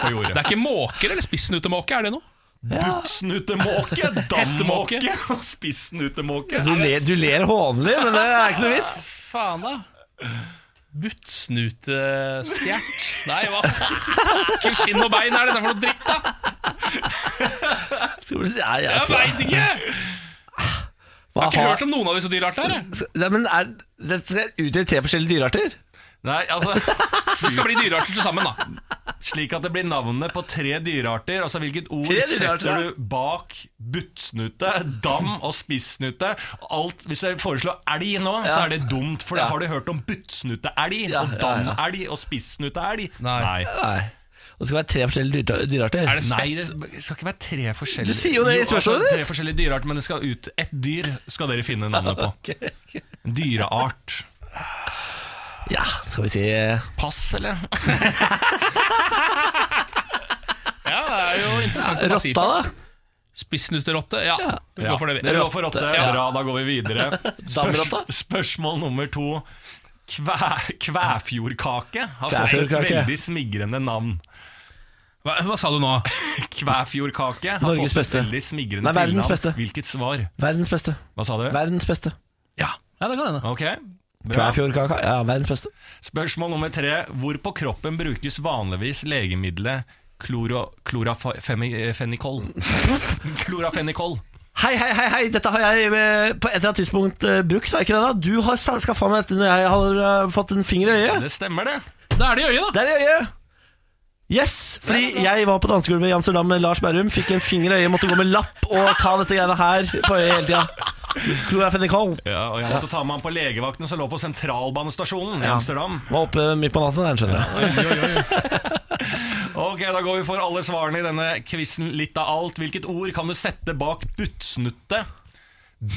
B: Det
F: jordet.
B: er ikke måker eller spissnutemåke, er det noe?
F: Buttsnutemåke, dammåke og spissnutemåke.
A: Du ler, du ler hånlig, men det er ikke noe vits.
B: Faen, da. Buttsnutestjert. Nei, hva faen? Skinn og bein er dette for noe dritt, da?
A: Nei,
B: Jeg
A: altså,
B: veit ikke! Jeg
A: hva
B: har ikke
A: har
B: hørt om noen av disse dyreartene her. jeg.
A: Nei, men er, det skal utgjøre tre forskjellige dyrearter?
F: Nei, altså
B: Det skal bli dyrearter til sammen, da.
F: Slik at det blir navnet på tre dyrearter. Altså hvilket ord
A: Tre dyrearter,
F: setter
A: ja.
F: du bak buttsnute, dam og spissnute? Alt, hvis jeg foreslår elg nå, så er det dumt, for da har du hørt om buttsnuteelg
A: Ja,
F: og
A: ja, ja.
F: damelg og spissnuteelg.
B: Nei.
A: Nei. Og det skal være tre forskjellige dyre-
B: Er
A: dyrearter?
B: det
F: Nei,
B: spett?
F: det skal ikke være tre forskjellige
A: Du
F: altså,
A: sier jo det i spørsmålet ditt.
F: Tre forskjellige dyrearter, men det skal ut ett dyr skal dere finne navnet på. En Dyreart.
A: Ja, skal vi si eh,
F: Pass, eller?
B: Ja, det er jo interessant. å si
A: rotta,
B: på,
A: da?
B: altså. Spissnuterotte? Ja, vi
F: Ja,
B: går for det.
F: det
B: vi.
F: går for rotte.
A: Ja.
F: Bra, da går vi videre.
A: Damrotta?
F: spørsmål nummer to. Kvæ, kvæfjordkake har fått et
A: Kvæfjordkake.
F: veldig smigrende navn.
B: Hva, hva sa du nå?
F: Kvæfjordkake har
A: Norges
F: fått
A: beste.
F: et veldig smigrende
A: Nei, verdens
F: tilnavn.
A: beste.
F: Hvilket svar?
A: Verdens beste.
F: Hva sa du?
A: Verdens beste.
B: Ja, ja det kan hende.
F: Ok, bra.
A: Kvæfjordkaka. Ja, verdens beste.
F: Spørsmål nummer tre. Hvor på kroppen brukes vanligvis legemiddelet kloro, klorafenikol. klorafenikol.
A: Hei, hei, hei, hei, dette har jeg eh, på et eller annet tidspunkt eh, brukt, har jeg ikke det da? Du har sa- skaffa meg dette når jeg har eh, fått en finger i øyet.
F: Det stemmer, det.
B: Da er det i øyet, da.
A: Der i øyet! Yes! Fordi jeg var på dansegulvet i Amsterdam med Lars Berrum, fikk en finger i øyet, måtte gå med lapp og ta dette greiene her på øyet hele tida. Klorafenikal.
F: Ja, og Jeg måtte ta med han på legevakten som lå på sentralbanestasjonen i Amsterdam.
A: Var oppe midt på natten der, skjønner jeg.
F: Ok, Da går vi for alle svarene i denne quizen litt av alt. Hvilket ord kan du sette bak buttsnutte?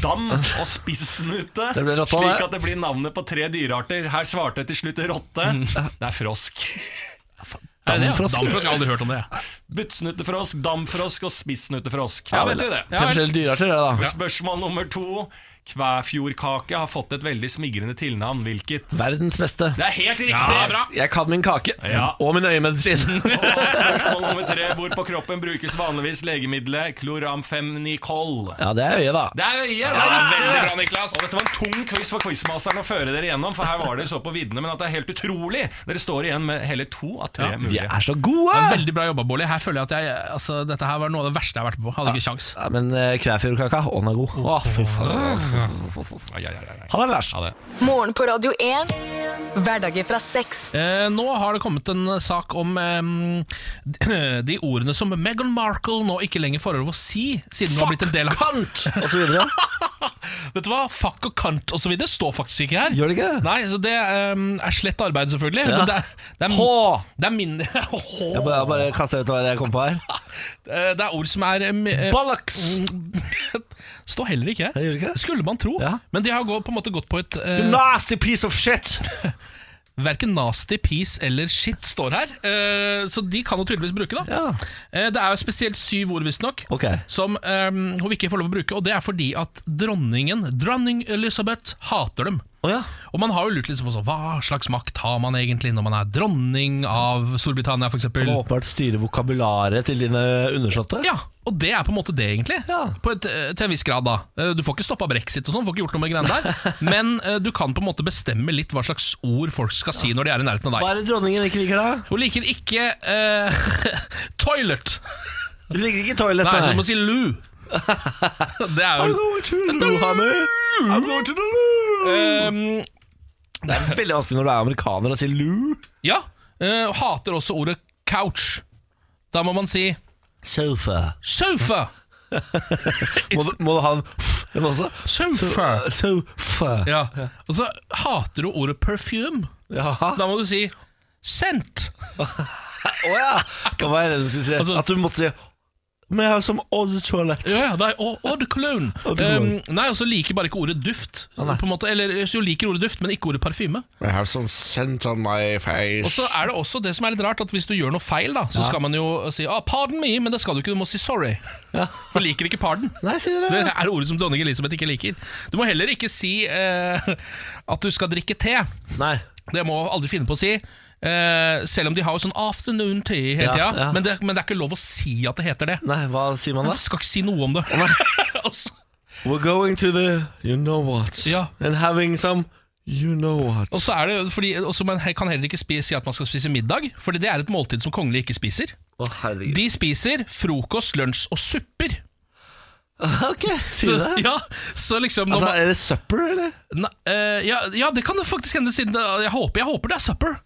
F: Dam og spissnute,
A: Det ble rotta,
F: slik
A: det.
F: at det blir navnet på tre dyrearter. Her svarte til slutt rotte.
A: Mm.
F: Det er frosk.
B: Er det det, ja?
A: Damfrosk.
B: Damfrosk, jeg har aldri hørt om det. jeg.
F: Buttsnuttefrosk, damfrosk og spissnuttefrosk. Da vet vi det.
A: Tre forskjellige dyrearter, det, da.
F: Spørsmål nummer to. Kvæfjordkake har fått et veldig smigrende tilnavn. Hvilket?
A: Verdens beste.
F: Det er helt riktig!
B: Ja, bra.
A: Jeg kan min kake.
F: Ja.
A: Og min øyemedisin.
F: Og spørsmål nummer tre. Hvor på kroppen brukes vanligvis legemiddelet kloramfemnikol?
A: Ja, det er øyet, da.
F: Det er øyet! det er
B: Ja,
F: riktig,
B: veldig
F: det.
B: bra, Niklas.
F: Og dette var en tung quiz for quizmasteren å føre dere gjennom, for her var dere så på viddene, men at det er helt utrolig! Dere står igjen med hele to av tre
B: Ja.
A: Vi
F: mulige.
A: er så gode!
B: Det er Veldig bra jobba, Bårli. Her føler jeg at jeg, altså, dette her var noe av det verste jeg har vært med på. Hadde ikke kjangs.
A: Ja, men eh, Kvæfjordkaka, å, den er god. Å, fy faen.
F: Ja, ja, ja, ja, ja.
A: Ha det, Lars.
F: Ha det.
C: Morgen på Radio 1. Hverdager fra seks.
B: Eh, nå har det kommet en sak om eh, de ordene som Meghan Markle nå ikke lenger får lov å si, siden hun har blitt en del av
A: Kant! Og så videre.
B: Vet du hva, fuck og cunt og så videre står faktisk ikke her.
A: Gjør det ikke?
B: Nei, så det ehm, er slett arbeid, selvfølgelig.
A: Ja.
B: Men det er, det er,
A: Hå!
B: det er mindre Hå.
A: Jeg bare, jeg bare kaster ut hva jeg kom på her.
B: Eh, Det er ord som er em, eh,
A: Ballaks!
F: Mm,
B: Står heller ikke
A: Jeg gjør det ikke?
B: Skulle man tro.
A: Ja.
B: Men de har gå, på en måte gått på et eh,
A: Nasty piece of shit!
B: Verken nasty, peace eller shit står her. Eh, så de kan hun tydeligvis bruke, da.
A: Ja.
B: Eh, det er jo spesielt syv ord, visstnok,
A: Ok.
B: som eh, hun ikke får lov å bruke. Og det er fordi at dronningen, dronning Elizabeth, hater dem.
A: Å ja.
B: Og man har jo lurt litt på sånn, hva slags makt har man egentlig når man er dronning av Storbritannia f.eks.
A: Du må åpenbart styre vokabularet til dine undersåtte.
B: Ja, og det er på en måte det, egentlig.
A: Ja.
B: På et, eh, til en viss grad, da. Eh, Du får ikke stoppa brexit og sånn, får ikke gjort noe med greiene der. Men eh, du kan på en måte bestemme litt hva slags ord folk skal si når de er i nærheten
A: Hva
B: av deg.
A: er det dronningen ikke liker, da?
B: Hun liker ikke eh, toilet.
A: Du liker ikke toalett,
B: Nei, så du
A: nei.
B: må si loo. Det er
A: I'm
B: jo
A: going to the loo, honey. I'm going to the loo.
B: Eh,
A: Det er veldig vanskelig når du er amerikaner og sier loo.
B: Ja. eh, hater også ordet couch. Da må man si
A: Sofa.
B: sofa.
A: Må du, må du ha en f en også? eh,
B: Sofa.
A: Sofa.
B: Ja. Og så hater du ordet perfume.
A: Jaha.
B: Da må du si scent.
A: Å ja! Hva var det du skulle si?
B: Altså-
A: At du måtte si Men jeg har som odd toalett.
B: Ja, ja, det er eau- eau de cologne.
A: Eau de cologne.
B: Um, nei, og så liker bare ikke ordet duft. på en måte, eller så jo liker ordet duft, men ikke ordet parfyme.
G: I have some scent sånn on my face.
B: Og så er det også det som er litt rart, at hvis du gjør noe feil, da, så skal man jo si ah, 'pardon me', men det skal du ikke, du må si 'sorry'. For liker ikke pardon.
A: Nei, sier du
B: Det
A: det?
B: er ordet som dronning Elisabeth ikke liker. Du må heller ikke si eh, at du skal drikke te.
A: Nei.
B: Det må jeg aldri finne på å si. Eh, selv om de har jo sånn afternoon tea hele
A: Ja,
B: tida.
A: ja.
B: Men, det- men det er ikke lov å si at det heter det.
A: Nei, hva sier man
B: Du
A: da?
B: skal ikke si noe om det. Altså,
A: We're going to the you know what
B: Ja.
A: and having some you know what.
B: Og så er det fordi også Man he- kan heller ikke spi- si at man skal spise middag, Fordi det er et måltid som kongelige ikke spiser.
A: Å, herregud.
B: De spiser frokost, lunsj og supper.
A: Ok,
B: Så,
A: sier du det?
B: ja, så liksom når
A: Altså,
B: man,
A: er det supper, eller?
B: Nei, eh, ja, ja, det kan det faktisk hende, siden det, jeg, håper, jeg håper det er supper.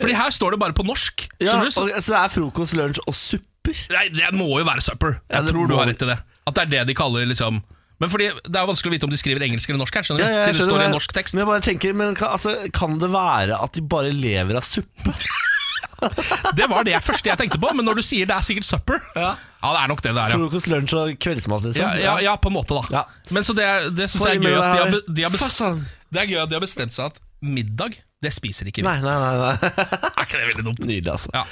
B: Fordi her står det bare på norsk.
A: Ja, og,
B: Skjønner du? Så,
A: så det er frokost, lunsj og supper?
B: nei, det må jo være supper.
A: Ja,
B: Jeg
A: det
B: tror du
A: må-
B: har rett i det. At det er det de kaller liksom Men fordi det er jo vanskelig å vite om de skriver engelsk eller norsk her, skjønner du?
A: jeg
B: siden det
A: skjønner
B: står i
A: det.
B: norsk tekst.
A: Men jeg bare tenker, men kan, altså, kan det være at de bare lever av suppe?
B: Det var det første jeg tenkte på, men når du sier det er sikkert supper Ja, det er nok det det er, ja.
A: Frokost, lunsj og kveldsmat, liksom?
B: Ja, ja, ja, på en måte, da.
A: Ja.
B: Men så det, det syns
A: Få i
B: jeg er gøy
A: meg
B: at de har,
A: det
B: be- de har
A: her.
B: bestemt,
A: Fasan.
B: det er gøy at de har bestemt seg at middag, det spiser ikke vi.
A: Nei, nei, nei. nei.
B: Er ikke det veldig dumt?
A: Nydelig, altså.
B: Ja,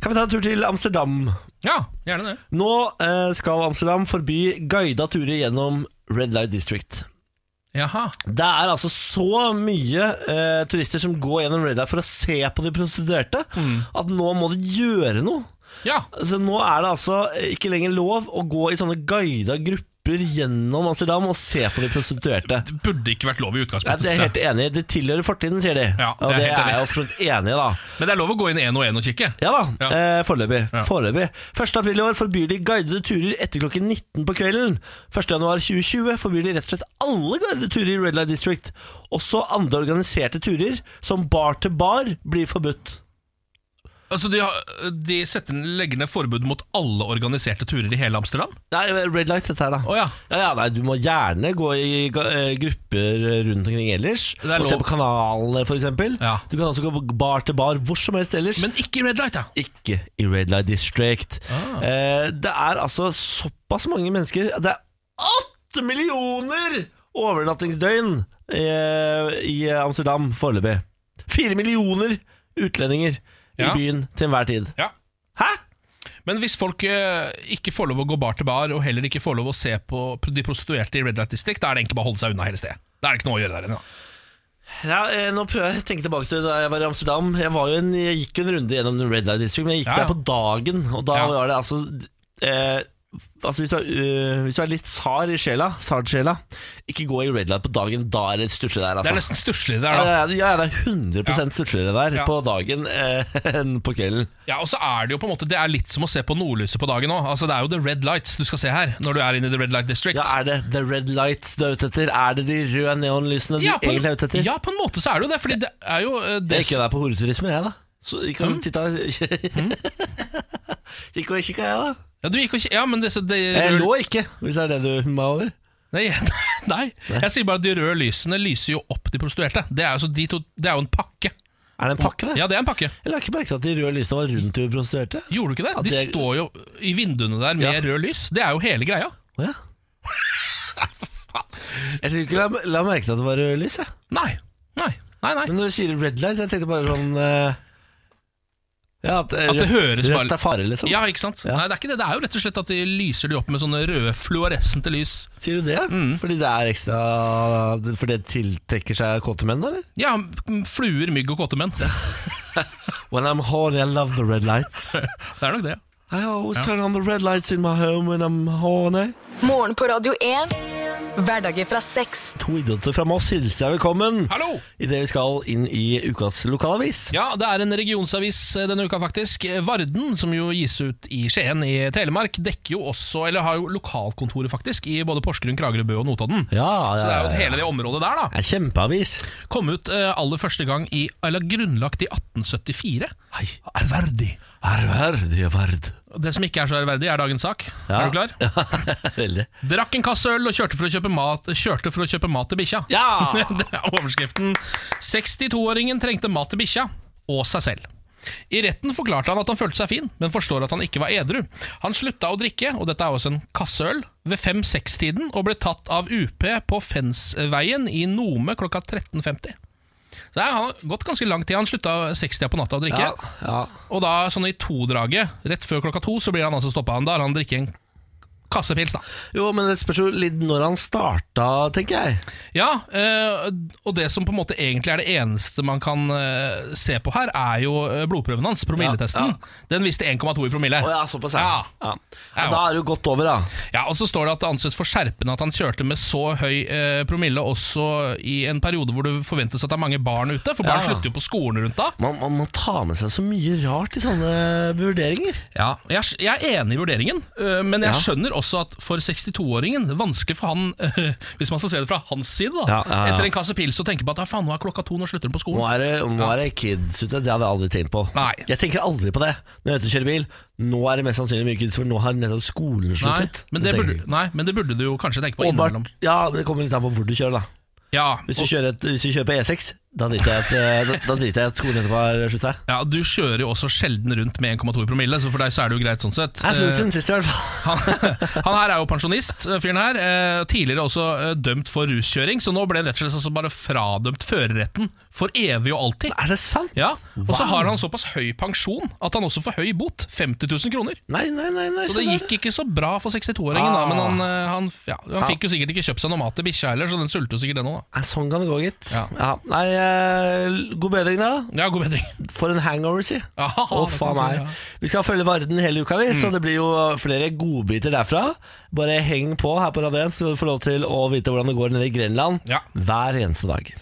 A: Kan vi ta en tur til Amsterdam?
B: ja gjerne det.
A: Nå eh, skal Amsterdam forby guida turer gjennom Red Light District.
B: Jaha.
A: Det er altså så mye eh, turister som går gjennom Red Light for å se på de prostituerte,
B: Mm.
A: at nå må de gjøre noe.
B: Ja.
A: Altså, nå er det altså eh, ikke lenger lov å gå i sånne guida grupper hopper gjennom Amsterdam og ser på de prostituerte.
B: Det burde ikke vært lov
A: Nei,
B: i utgangspunktet.
A: det er jeg helt enig i. Det tilhører fortiden, sier de.
B: Ja,
A: og
B: det
A: det
B: er
A: er
B: helt
A: jeg
B: enig.
A: jo fortsatt enig i, da.
B: Men det er lov å gå inn én og én og kikke.
A: Ja da,
B: Ja.
A: Eh, foreløpig.
B: Ja.
A: foreløpig. 1. april i år forbyr de guidede turer etter klokken 19 på kvelden. 1. januar 2020 forbyr de rett og slett alle guidede turer i Red Light District. Også andre organiserte turer, som bar til bar, blir forbudt.
B: Altså, de, har, de setter, legger ned forbud mot alle organiserte turer i hele Amsterdam?
A: Nei, Red Light dette her, da.
B: Å ja.
A: Ja, ja, nei, Du må gjerne gå i ga- eh, grupper rundt omkring ellers.
B: Det er
A: Og se
B: lov.
A: på kanalene, f.eks.
B: Ja.
A: Du kan også gå bar til bar hvor som helst ellers.
B: Men ikke i red light, da.
A: ikke i Red Light District.
B: Ah.
A: Eh, det er altså såpass mange mennesker Det er åtte millioner overnattingsdøgn eh, i Amsterdam foreløpig. Fire millioner utlendinger i
B: Ja.
A: byen til enhver tid.
B: Ja.
A: Hæ?!
B: Men hvis folk eh, ikke får lov å gå bar til bar, og heller ikke får lov å se på de prostituerte i Red Light District, da er det egentlig bare å holde seg unna hele stedet. Da er det ikke noe å gjøre der inne. da.
A: Ja, eh, nå prøver jeg å tenke tilbake til da jeg var i Amsterdam. Jeg, var jo en, jeg gikk jo en runde gjennom Red Light District, men jeg gikk
B: Ja, ja.
A: der på dagen. Og da
B: Ja.
A: var det altså eh, Altså hvis du, er, eh, hvis du er litt sar i sjela, sart sjela, ikke gå i Red Light på dagen. Da er det stusslig der,
B: Det
A: altså.
B: er nesten stusslig der, da.
A: Ja, ja, ja, det er 100 stussligere der
B: Ja.
A: på dagen eh, enn på kvelden.
B: Ja, og så er det jo på en måte Det er litt som å se på nordlyset på dagen òg. Altså, det er jo the red lights du skal se her, når du er inne i the red light district.
A: Ja, Er det the red lights du er ute etter? Er det de røde neonlysene du
B: Ja, på en-
A: egentlig er ute etter?
B: ja, på en måte så er det jo det, fordi det er jo eh, det,
A: Jeg gikk jo der på horeturisme, jeg, da. Så gikk
B: Mm.
A: og titta Gikk og kikka, jeg, da.
B: ja, du gikk og, ikke- ja, men disse de,
A: Jeg Eh, lå ikke, hvis det er det du må over.
B: Nei, nei, jeg sier bare at de røde lysene lyser jo opp de prostituerte. Det er jo, så de to, det er jo en pakke.
A: Er det en pakke, det?
B: Ja, det er en pakke.
A: Jeg la ikke merke til at de røde lysene var rundt de prostituerte.
B: Gjorde du ikke det?
A: Ja,
B: De
A: det-
B: står jo i vinduene der med
A: Ja.
B: rød lys. Det er jo hele greia.
A: Å, Ja. Jeg tror ikke la, la merke til at det var røde lys, jeg.
B: Nei, nei, nei. nei.
A: Men når du sier red light, jeg tenkte bare sånn eh, Ja, at, eh,
B: At det høres bare-
A: Rødt er fare, liksom.
B: Ja, ikke sant?
A: Ja.
B: Nei, det er ikke det. Det er jo rett og slett at de lyser de opp med sånne røde fluorescente lys.
A: Sier du det? ja? Fordi det er ekstra Fordi det tiltrekker seg kåte menn, eller?
B: Ja, m- fluer, mygg og kåte menn.
A: When I'm horny, I love the red lights.
B: Det er nok det.
A: I always turn on the red lights in my home when I'm horny.
C: Morgen på Radio 1. Hverdager fra seks.
A: To idioter fra Moss hilser deg velkommen
B: Hallo!
A: idet vi skal inn i ukas lokalavis.
B: Ja, det er en regionsavis eh, denne uka faktisk. Varden, som jo gis ut i Skien i Telemark, dekker jo også, eller har jo lokalkontoret faktisk, i både Porsgrunn, Kragerø, Bø og Notodden.
A: Ja,
B: Så det er jo
A: ja, ja.
B: hele det området der, da.
A: Det er kjempeavis.
B: Kom ut eh, aller første gang i, eller grunnlagt i 1874.
A: Hei.
B: Ærverdig.
A: Ærverdige verd.
B: Det som ikke er så ærverdig, er dagens sak. Er du klar?
A: Veldig.
B: Drakk en kasse øl og kjørte for å kjøpe mat, kjørte for å kjøpe mat til bikkja.
A: Ja!
B: det er overskriften. 62-åringen trengte mat til bikkja og seg selv. I retten forklarte han at han følte seg fin, men forstår at han ikke var edru. Han slutta å drikke, og dette er også en kasseøl, ved 5-6-tiden og ble tatt av UP på Fensveien i Nome klokka 13.50. Så det har gått ganske lang tid. Han slutta 60 på natta å drikke.
A: Ja, ja.
B: Og da, sånn i to-draget, rett før klokka to, så blir han altså stoppa. Da har han drikket en kassepils, da.
A: Jo, men det spørs jo litt når han starta, tenker jeg.
B: Ja, eh, og det som på en måte egentlig er det eneste man kan eh, se på her, er jo eh, blodprøven hans, promilletesten. Den viste 1,2 i promille.
A: Å ja, såpass,
B: ja.
A: ja. ja. Da er det jo godt over, da.
B: Ja, og så står det at det anses for skjerpende at han kjørte med så høy eh, promille også i en periode hvor det forventes at det er mange barn ute, for barn
A: Ja.
B: slutter jo på skolen rundt da.
A: Man, man må ta med seg så mye rart i sånne vurderinger.
B: Ja, jeg, jeg er enig i vurderingen, øh, men jeg
A: Ja.
B: skjønner også at for 62-åringen, vanskelig for han, øh, hvis man skal se det fra hans side, da,
A: Ja, ja, ja.
B: etter en kasse pils og tenke på at «Ah, faen, nå er klokka to, nå slutter den på
A: Nå
B: skolen.
A: er det, nå er det kids ute, det hadde jeg aldri tenkt på.
B: Nei.
A: Jeg tenker aldri på det når jeg er ute og kjører bil. Nå er det mest sannsynlig mye kids, for nå har nettopp skolen
B: Nei
A: sluttet.
B: men, det
A: tenker
B: burde,
A: jeg.
B: nei, men det burde du jo kanskje tenke på
A: Og bare-
B: innimellom.
A: ja, det kommer litt an på hvor du kjører, da.
B: Ja,
A: Hvis du
B: og,
A: kjører, et, hvis du kjører på E6, da driter jeg at, eh, da- da driter jeg at skolen etterpå har slutta.
B: ja, du kjører jo også sjelden rundt med 1,2 i promille, så for deg så er det jo greit sånn sett.
A: Jeg synes
B: Eh,
A: den siste, i hvert fall.
B: han, han her er jo pensjonist, eh, fyren her. eh, Tidligere også eh, dømt for ruskjøring, så nå ble han rett og slett altså bare fradømt førerretten for evig og alltid.
A: Er det sant?
B: Ja, Og så har han såpass høy pensjon at han også får høy bot. 50 000 kroner.
A: Nei, nei, nei. nei
B: Så det
A: sånn er
B: gikk ikke så bra for 62-åringen,
A: Ah.
B: da. Men han, eh, han, ja, han fikk jo sikkert ikke kjøpt seg noe mat til bikkja heller, så den sulter jo sikkert den òg, da.
A: Nei, Sånn kan det gå, gitt.
B: Ja.
A: Ja. Nei, jeg eh, god bedring, da.
B: Ja, god bedring.
A: For en hangover, si.
B: Ja,
A: Å,
B: det altså. Mm.
A: faen
B: kan man si,
A: meg.
B: ja.
A: Vi skal følge Varden hele uka, vi, så det blir jo flere godbiter derfra. Bare heng på her på Radio 1, så du får lov til å vite hvordan det går nede i Grenland
B: Ja.
A: hver eneste dag.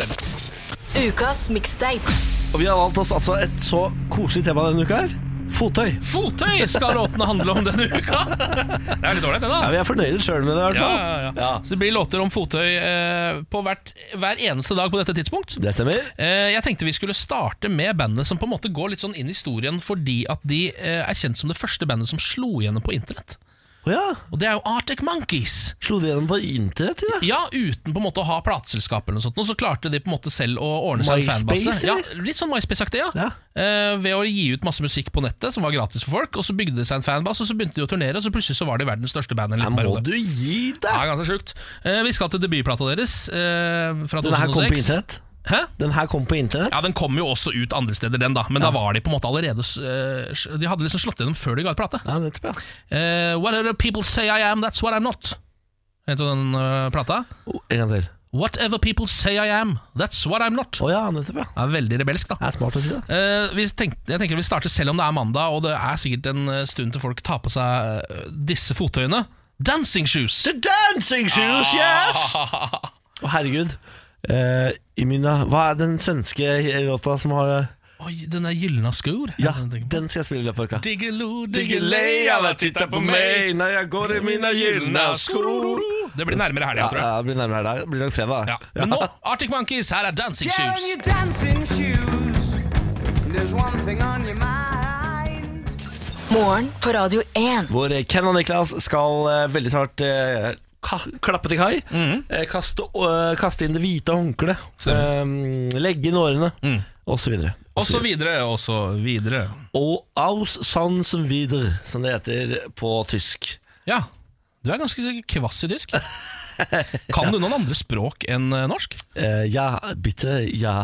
C: Ukas mixtape.
A: Og vi har valgt oss altså et så koselig tema denne uka her. Fottøy.
B: Fottøy skal låtene handle om denne uka! Det er litt ålreit, det, da.
A: Ja, vi er fornøyde sjøl med det, i hvert
B: Ja,
A: fall.
B: ja, ja. Så det blir låter om fottøy eh, på hvert, hver eneste dag på dette tidspunkt.
A: Det stemmer.
B: Eh, jeg tenkte vi skulle starte med bandet som på en måte går litt sånn inn i historien fordi at de eh, er kjent som det første bandet som slo igjennom på internett.
A: Å ja.
B: Og det er jo Arctic Monkeys.
A: Slo de gjennom på internett i dag?
B: Ja, uten på en måte å ha plateselskap eller noe sånt, og så klarte de på en måte selv å ordne seg en
A: MySpace,
B: fanbase. Ja,
A: eller?
B: litt sånn MySpace-aktig, ja.
A: Ja.
B: Eh, ved å gi ut masse musikk på nettet som var gratis for folk, og så bygde det seg en fanbase, og så begynte de å turnere, og så plutselig så var de verdens største band en
A: Her
B: liten
A: må
B: periode.
A: du gi
B: Ja,
A: deg!
B: ganske sjukt. Eh, vi skal til debutplata deres eh, fra 2006.
A: Den her kom på internett.
B: Hæ?
A: Den her kom på internett.
B: Ja, Den kom jo også ut andre steder, den da. Men da var de på en måte allerede eh, De hadde liksom slått gjennom før de ga ut plate.
A: Ja, nettopp, ja.
B: Eh, Whatever people say I am, that's what I'm not. Heter den eh, plata.
A: Oh, en gang til.
B: Whatever people say I am, that's what I'm not.
A: Å ja, nettopp, ja.
B: Det er veldig rebelsk, da.
A: Det er smart å si det.
B: Eh, vi tenkte, jeg tenker vi starter selv om det er mandag, og det er sikkert en eh, stund til folk tar på seg eh, disse fottøyene. Dancing shoes!
A: The dancing shoes, yes! Å, herregud. Eh, Imina, hva er den svenske låta som har
B: Oi, den er gylna skor.
A: Ja, den skal jeg spille i løpet av uka.
B: Diggelo,
A: Diggelei, alle tittar på meg når jeg går i mine gylne skor.
B: Det blir nærmere helga,
A: Ja,
B: tror jeg.
A: ja, det blir nærmere her dag. Det blir nok fredag.
B: Ja. Men nå, Arctic Monkeys, her er Dancing Shoes.
C: Morgen på Radio 1.
A: Hvor Ken og Niklas skal eh, veldig snart eh, ka klappe til kai.
B: Mm.
A: eh, kaste, eh, kaste inn det hvite håndkleet. eh, legge inn årene, og så videre.
B: Mm. Og så videre, og så videre.
A: Og aus sans wieder, som det heter på tysk.
B: Ja, du er ganske kvass i tysk. Kan du noen andre språk enn eh, norsk?
A: Eh, ja, bitte, ja.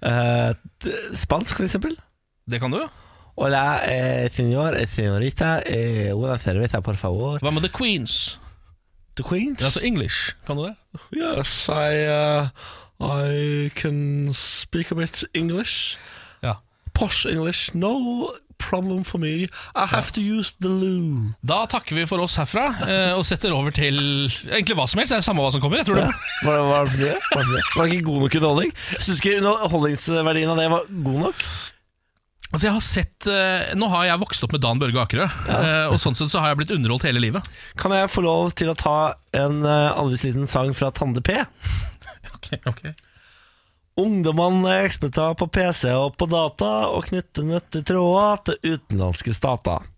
A: Eh, t- spansk, for eksempel.
B: Det kan du.
A: Hola, eh, señor, eh, señorita, eh, una cerveza, por favor.
B: Hva med The Queens?
A: The Queens?
B: Altså English, kan du det?
A: Yes, I, uh, I can speak a bit English.
B: Ja.
A: Posh English, no problem for me. I have to use the loo.
B: Da takker vi for oss herfra, eh, og setter over til egentlig hva som helst. Det er samme hva som kommer. Jeg tror det.
A: Var, var, det for det? var det for det? Var det ikke god nok underholdning? Syns ikke underholdningsverdien av det var god nok?
B: Altså, jeg har sett, eh, Nå har jeg vokst opp med Dan Børge Akerø, eh, og sånn sett så har jeg blitt underholdt hele livet.
A: Kan jeg få lov til å ta en uh, aldri liten sang fra Tande P?
B: Okay, okay.
A: Ungdommene er eksperter på PC og på data, og knytter nøttetråder til utenlandske stater.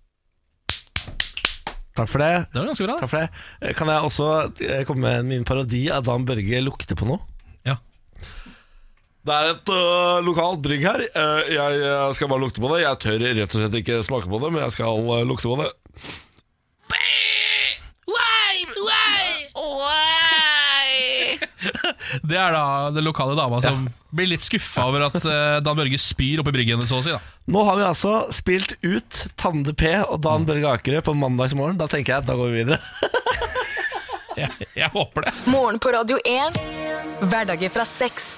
A: Takk for det.
B: Det var ganske bra.
A: Takk for det. Eh, Kan jeg også eh, komme med min parodi av Dan Børge lukter på noe?
B: Ja.
G: Det er et øh, lokalt brygg her. Eh, jeg eh, skal bare lukte på det. Jeg tør rett og slett ikke smake på det, men jeg skal eh, lukte på det.
B: Det er da den lokale dama som blir litt skuffa over at eh, Dan Børge spyr oppi bryggen, så å si. da
A: Nå har vi altså spilt ut Tande P og
G: Mm.
A: Dan Børge Akerø på mandagsmorgen. Da tenker jeg at da går vi videre.
B: Jeg, jeg håper det.
C: Morgen på Radio 1. Hverdager fra seks.